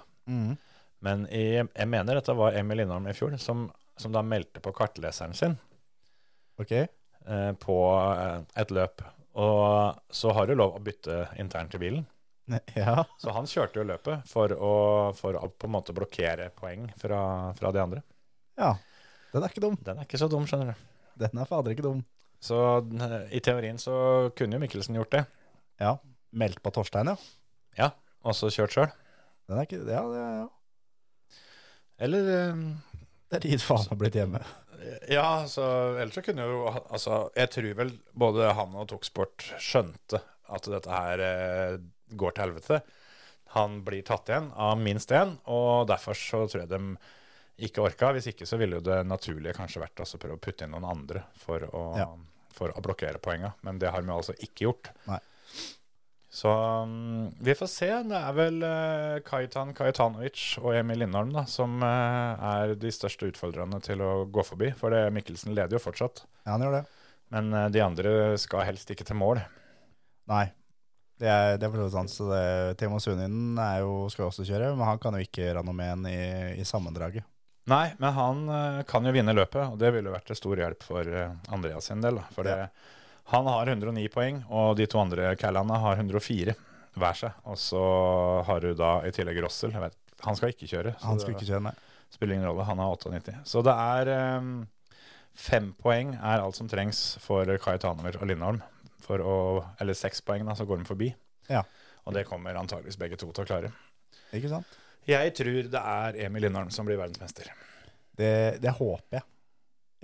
Speaker 3: Men i, jeg mener dette var Emil Lindholm i fjor, som, som da meldte på kartleseren sin
Speaker 4: Ok.
Speaker 3: eh, på eh, et løp. Og så har du lov å bytte internt i bilen.
Speaker 4: Ja.
Speaker 3: Så han kjørte jo løpet for å, for å på en måte blokkere poeng fra, fra de andre.
Speaker 4: ja. Den er ikke dum.
Speaker 3: Den er ikke så dum, skjønner du.
Speaker 4: Den er fader ikke dum.
Speaker 3: Så eh, i teorien så kunne jo Mikkelsen gjort det.
Speaker 4: Ja. Meldt på Torstein, ja.
Speaker 3: og så kjørt sjøl.
Speaker 4: Den er ikke Ja, ja, ja.
Speaker 3: Eller eh,
Speaker 4: Det er dit faen meg blitt hjemme.
Speaker 3: Ja, så ellers så kunne jo Altså, jeg tror vel både han og Toksport skjønte at dette her eh, går til helvete. Han blir tatt igjen av minst én, og derfor så tror jeg de ikke orka. Hvis ikke så ville jo det naturlige kanskje vært å prøve å putte inn noen andre for å,
Speaker 4: Ja.
Speaker 3: for å blokkere poenga, men det har vi altså ikke gjort.
Speaker 4: Nei.
Speaker 3: Så mm, vi får se. Det er vel eh, Kajtan Kajtanovic og Emil Lindholm da, som eh, er de største utfordrerne til å gå forbi. For det, Mikkelsen leder jo fortsatt.
Speaker 4: Ja, han gjør det.
Speaker 3: Men eh, de andre skal helst ikke til mål.
Speaker 4: Nei. Det er, det er for så vidt sant. Så det, Temo Suninen er jo, skal jo også kjøre, men han kan jo ikke renommeen i, i sammendraget.
Speaker 3: Nei, men han eh, kan jo vinne løpet, og det ville jo vært til stor hjelp for eh, Andreas sin del. da, For det, han har 109 poeng, og de to andre callene har 104 hver seg. Og så har du da i tillegg Rossel. Jeg vet, han skal ikke kjøre, så
Speaker 4: Han skulle
Speaker 3: det
Speaker 4: ikke kjøre, nei.
Speaker 3: spiller ingen rolle. Han har 98. Så det er eh, fem poeng er alt som trengs for Kajtanovic og Lindholm. For å, eller seks poeng, da, så går de forbi.
Speaker 4: Ja.
Speaker 3: Og det kommer antageligvis begge to til å klare.
Speaker 4: Ikke sant?
Speaker 3: Jeg tror det er Emil Lindholm som blir verdensmester.
Speaker 4: Det, det håper jeg.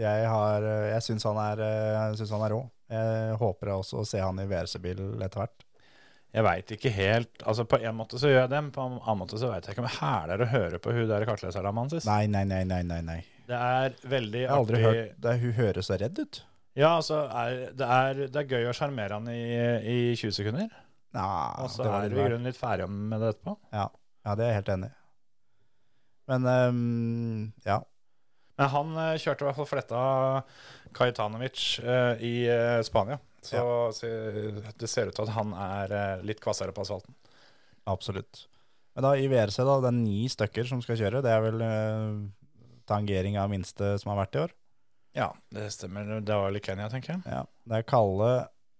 Speaker 4: Jeg, har- jeg syns han, er- jeg synes han er rå. Jeg håper også å se han i VRC-bil etter hvert.
Speaker 3: Jeg veit ikke helt Altså På en måte så gjør jeg det, men på en annen måte så veit jeg ikke om jeg hæler å høre på hun der kartleseren hans.
Speaker 4: Nei, nei, nei, nei, nei. nei.
Speaker 3: Det er veldig
Speaker 4: Jeg har aldri
Speaker 3: artig-
Speaker 4: hørt det, Hun høres så redd ut.
Speaker 3: Ja, altså er, det, er, det er gøy å sjarmere han i, i 20 sekunder,
Speaker 4: Nei,
Speaker 3: og så
Speaker 4: det
Speaker 3: er
Speaker 4: var litt
Speaker 3: vi i
Speaker 4: rart.
Speaker 3: grunnen litt ferdige med det etterpå.
Speaker 4: Ja, ja det er jeg helt enig i. Men ehm, ja.
Speaker 3: Men han eh, kjørte i hvert fall fletta Kajtanovic eh, i eh, Spania. Så se- det ser ut til at han er eh, litt kvassere på asfalten.
Speaker 4: Absolutt. Men da i VRC, da, det er ni stykker som skal kjøre. Det er vel eh, tangering av minste som har vært i år.
Speaker 3: Ja, det stemmer. Det var litt Kenya, tenker jeg.
Speaker 4: Ja. Det er Kalle,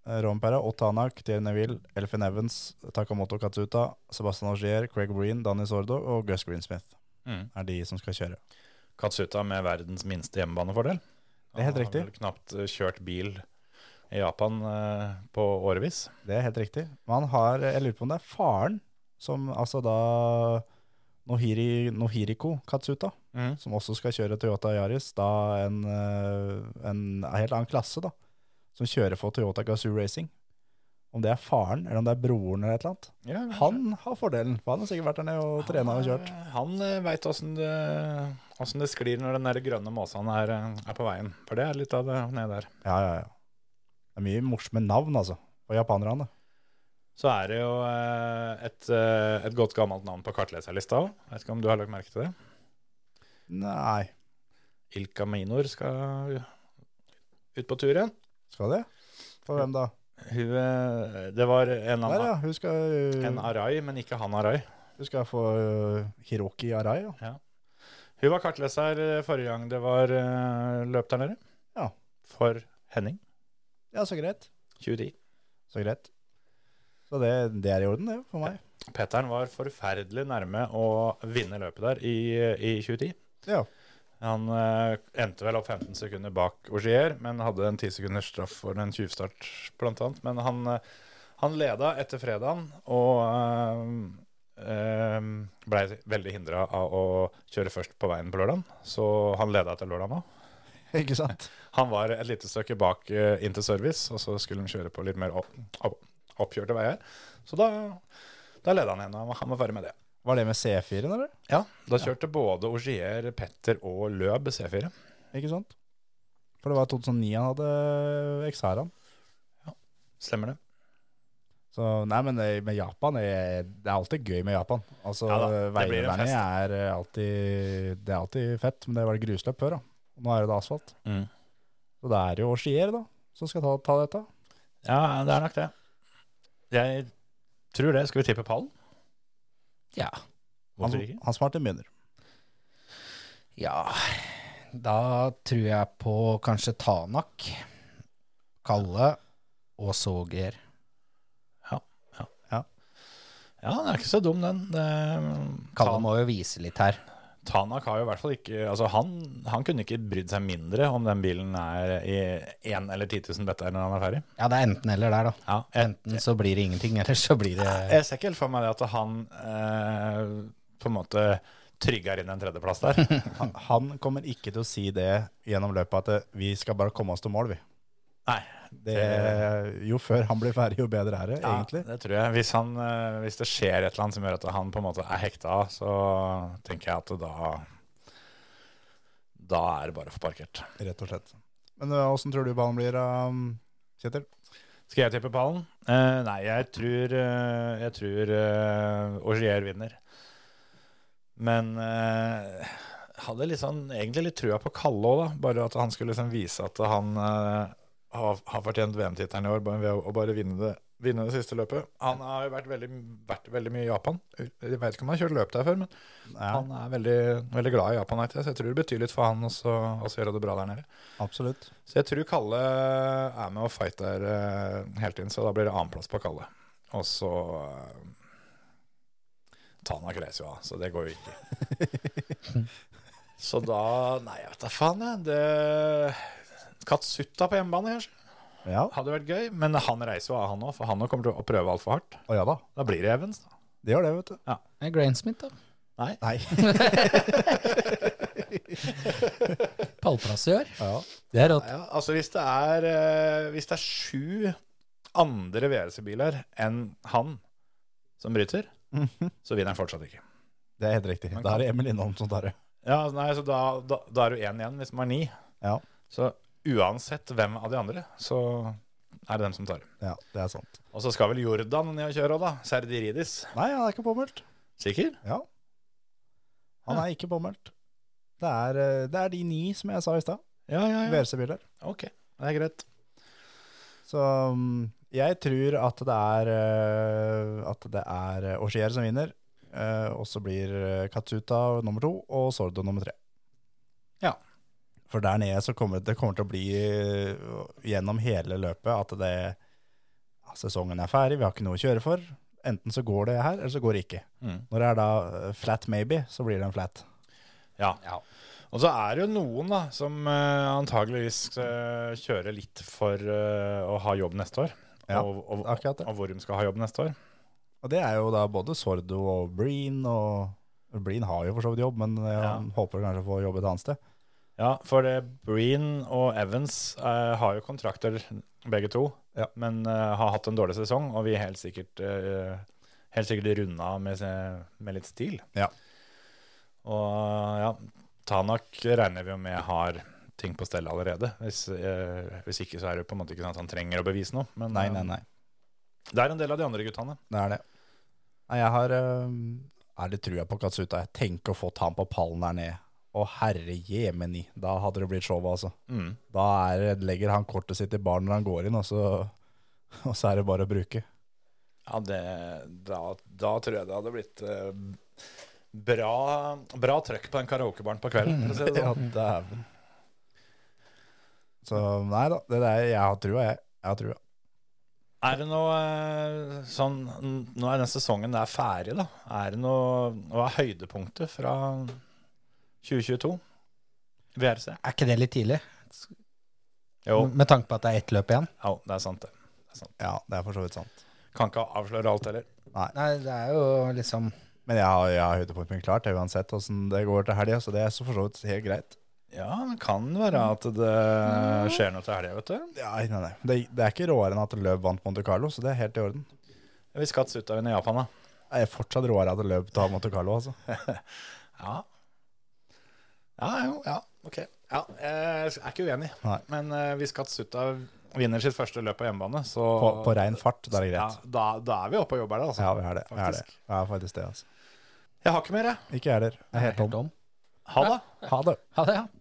Speaker 4: eh, Rompera, Otanak, Thierry Neville, Elfin Evans, Takamoto Katsuta, Sebastian Augier, Craig Breen, Danny Sordo og Gus Greensmith
Speaker 3: Mm.
Speaker 4: er de som skal kjøre.
Speaker 3: Katsuta med verdens minste hjemmebanefordel.
Speaker 4: Det er helt riktig.
Speaker 3: Han har vel knapt eh, kjørt bil i Japan eh, på årevis.
Speaker 4: Det er helt riktig. Men han har, eh, jeg lurer på om det er faren som altså da Nohiri, Nohiriko Katsuta
Speaker 3: Mm.
Speaker 4: som også skal kjøre Toyota Yaris, da en, eh, en helt annen klasse, da, som kjører for Toyota Gazoo Racing. Om det er faren, eller om det er broren, eller et eller annet.
Speaker 3: Ja, kanskje.
Speaker 4: Han har fordelen, for han har sikkert vært der nede og trena og kjørt.
Speaker 3: Han veit åssen det, hvordan det sklir når den der grønne måsen er, eh, er på veien. For det er litt av det nede der.
Speaker 4: Ja, ja, ja. Det er mye morsomme navn, altså, på japanerne.
Speaker 3: Så er det jo eh, et, eh, et godt gammelt navn på kartleserlista òg. Vet ikke om du har lagt merke til det?
Speaker 4: Nei,
Speaker 3: Ilka Minor skal ut på tur igjen.
Speaker 4: skal det? For hvem da?
Speaker 3: Hun, eh, det var en,
Speaker 4: Der,
Speaker 3: annen,
Speaker 4: ja. Hun skal,
Speaker 3: en Arai, men ikke han Arai.
Speaker 4: hun skal få eh, Hiroki Arai, ja.
Speaker 3: Hun var kartleser eh, forrige gang det var eh, løp der nede.
Speaker 4: Ja.
Speaker 3: For Henning.
Speaker 4: Ja, så greit.
Speaker 3: 2010.
Speaker 4: Så greit. Så det, det er i orden, det, for meg.
Speaker 3: Petteren var forferdelig nærme å vinne løpet der i, i 2010.
Speaker 4: Ja.
Speaker 3: Han eh, endte vel opp 15 sekunder bak Augier, men hadde en 10 sekunders straff for en tjuvstart, blant annet. Men han, eh, han leda etter fredagen og eh, eh, ble veldig hindra av å kjøre først på veien på lørdagen. Så han leda etter lørdagen òg.
Speaker 4: Ikke sant?
Speaker 3: Han var et lite stykke bak eh, inn til service, og så skulle han kjøre på litt mer opp, opp, oppkjørte veier. Så da, da leda han igjen, og han var- han var ferdig med det.
Speaker 4: Var det med C4-en, eller?
Speaker 3: Ja, Da kjørte både Augier, Petter og Løb C4.
Speaker 4: Ikke sant? For det var 2009 han hadde øh, Xaraen.
Speaker 3: Stemmer det.
Speaker 4: Så nei, men det- med Japan er, Det er alltid gøy med Japan. Altså,
Speaker 3: Ja da, det blir en
Speaker 4: Veilederne er eh, alltid Det er alltid fett, men det var det grusløp før, da. Og nå er det da asfalt.
Speaker 3: Mm.
Speaker 4: Så det er jo Skier, da, som skal ta, ta dette.
Speaker 3: Ja, det er nok det. Jeg tror det. Skal vi tippe pallen?
Speaker 5: Ja.
Speaker 4: Han,
Speaker 3: Hvorfor ikke?
Speaker 4: han som har til begynner.
Speaker 5: Ja, da tror jeg på kanskje Tanak, Kalle og Såger.
Speaker 3: Ja, den er ikke så dum, den. Det,
Speaker 5: Kalle
Speaker 3: Tan-
Speaker 5: må jo vise litt her.
Speaker 3: Tanak har jo i hvert fall ikke Altså, han, han kunne ikke brydd seg mindre om den bilen er i 1 eller 10 000 bedre når han er ferdig.
Speaker 5: Ja, det er enten eller der, da.
Speaker 3: Ja, jeg,
Speaker 5: Enten så blir det ingenting, eller så blir det
Speaker 3: Jeg ser ikke helt for meg det at han eh, på en måte trygger inn en tredjeplass der.
Speaker 4: Han, han kommer ikke til å si det gjennom løpet at eh, vi skal bare komme oss til mål, vi.
Speaker 3: Nei,
Speaker 4: Det, jo før han blir ferdig, jo bedre er det,
Speaker 3: ja,
Speaker 4: egentlig.
Speaker 3: det tror jeg. Hvis, han, eh, hvis det skjer et eller annet som gjør at han på en måte er hekta, så tenker jeg at da da er det bare for parkert.
Speaker 4: rett og slett. Men eh, åssen tror du ballen blir, da, Kjetil?
Speaker 3: Skal jeg tippe pallen? Eh, nei, jeg tror, eh, jeg tror eh, Augier vinner. Men eh, hadde liksom egentlig litt trua på Kalle òg, da. Bare at han skulle liksom vise at han eh, har, har fortjent VM-tittelen i år bare ved å- å bare vinne det, vinne det siste løpet. Han har jo vært veldig, vært veldig mye i Japan. Jeg vet ikke om han har kjørt løp der før, men
Speaker 4: Ja,
Speaker 3: han er veldig, veldig glad i Japan, vet jeg, så jeg tror det betyr litt for han også å gjøre det bra der nede.
Speaker 4: absolutt.
Speaker 3: Så jeg tror Kalle er med og fighter eh, hele tiden, så da blir det annenplass på Kalle. Og så eh, Tana kles jo av, så det går jo ikke. så da Nei, jeg vet da faen, jeg. Det Katsuta på hjemmebane kanskje,
Speaker 4: Ja,
Speaker 3: hadde vært gøy. Men han reiser jo av, han òg, for han også kommer til å prøve altfor hardt.
Speaker 4: Å ja da.
Speaker 3: Da blir det Evans. da.
Speaker 4: Det gjør det, vet du.
Speaker 5: Det er Grainsmith, da.
Speaker 4: Nei.
Speaker 5: Pallplass i år.
Speaker 4: Ja.
Speaker 5: Det er rått.
Speaker 3: Ja, altså hvis det er, eh, hvis det er sju andre VRC-biler enn han som bryter, så vinner han fortsatt ikke.
Speaker 4: Det er helt riktig. Da er det Emil Lindholm som tar det.
Speaker 3: Ja, altså, nei, så da, da, da er du én igjen hvis man er ni.
Speaker 4: Ja.
Speaker 3: Så uansett hvem av de andre, så er det dem som tar.
Speaker 4: Ja, det er sant.
Speaker 3: Og så skal vel Jordan ned og kjøre òg, da. Serdiridis.
Speaker 4: Nei, han er ikke påmeldt.
Speaker 3: Sikker?
Speaker 4: Ja. Han er ikke påmeldt. Det er, eh, det er de ni som jeg sa i stad.
Speaker 3: Ja, ja, ja.
Speaker 4: VRC-biler.
Speaker 3: Ok, det er greit.
Speaker 4: Så mm, jeg tror at det er eh, At det er eh, Ogier som vinner. eh, Og så blir eh, Katsuta nummer to og Sordo nummer tre.
Speaker 3: Ja.
Speaker 4: For der nede så kommer det, det kommer til å bli eh, gjennom hele løpet at det ja, Sesongen er ferdig, vi har ikke noe å kjøre for. Enten så går det her, eller så går det ikke.
Speaker 3: Mm.
Speaker 4: Når det er da eh, flat maybe, så blir det en flat.
Speaker 3: Ja. Og så er det jo noen da, som eh, antageligvis eh, kjører litt for eh, å ha jobb neste år.
Speaker 4: Ja,
Speaker 3: og, og,
Speaker 4: akkurat det.
Speaker 3: og hvor de skal ha jobb neste år.
Speaker 4: Og det er jo da både Sordo og Breen, og Breen har jo for så vidt jobb, men eh, han håper kanskje å få jobb et annet sted.
Speaker 3: Ja, for det, Breen og Evans eh, har jo kontrakter, begge to,
Speaker 4: Ja.
Speaker 3: men eh, har hatt en dårlig sesong, og vi er helt sikkert, eh, helt sikkert runda av med, se- med litt stil.
Speaker 4: Ja.
Speaker 3: Og ja, Tanak regner vi jo med har ting på stell allerede. Hvis, eh, hvis ikke så er det jo på en måte ikke sånn at han trenger å bevise noe. Men
Speaker 4: Nei,
Speaker 3: eh,
Speaker 4: nei, nei.
Speaker 3: det er en del av de andre guttene.
Speaker 4: Det er det. Nei, jeg har eh, er litt trua på Katsuta. Jeg tenker å få ta han på pallen der nede. Å herre jemeni, da hadde det blitt show, altså.
Speaker 3: Mm.
Speaker 4: Da er, legger han kortet sitt i baren når han går inn, og så, og så er det bare å bruke.
Speaker 3: Ja, det, da, da tror jeg det hadde blitt eh, bra, bra trøkk på den karaokebaren på kvelden. for å si det sånn.
Speaker 4: Ja, dæven. Så nei da, det der, jeg har trua, jeg. Jeg har trua.
Speaker 3: Er det noe eh, sånn n- Nå er den sesongen der ferdig, da. Er det noe Hva er høydepunktet fra 2022? VRC?
Speaker 5: Er ikke det litt tidlig?
Speaker 3: Jo,
Speaker 5: Med tanke på at det er ett løp igjen?
Speaker 3: Mm. ja, det er sant, det.
Speaker 4: Ja, det er for så vidt sant.
Speaker 3: Kan ikke avsløre alt heller.
Speaker 5: Nei, det er jo liksom
Speaker 4: Men jeg har, jeg har høydepunktet klart, jeg, uansett åssen det går til helga, så det er så for så vidt helt greit.
Speaker 3: Ja, det kan være at det skjer noe til helga, vet du.
Speaker 4: Ja, nei, nei. Det, det er ikke råere enn at Løv vant Monte Carlo, så det er helt i orden.
Speaker 3: Hvis Katsuta vinner Japan, da.
Speaker 4: Jeg er fortsatt råere at løp tar Monte Carlo, altså.
Speaker 3: Ja. Ja, jo, ja, ok. Ja, jeg er ikke uenig.
Speaker 4: Nei.
Speaker 3: Men eh, hvis Katsuta vinner sitt første løp på hjemmebane, så
Speaker 4: På, på rein fart, da er det
Speaker 3: ja,
Speaker 4: greit.
Speaker 3: da, da er vi oppe og jobber der, altså.
Speaker 4: Ja, vi er det. Vi er det.
Speaker 3: Faktisk.
Speaker 4: Ja, faktisk det, altså.
Speaker 3: Jeg har ikke mer, jeg.
Speaker 4: Ikke jeg heller. Jeg er helt tom.
Speaker 5: om.
Speaker 3: Ha det.
Speaker 4: Ha det.
Speaker 5: Ha det, ja.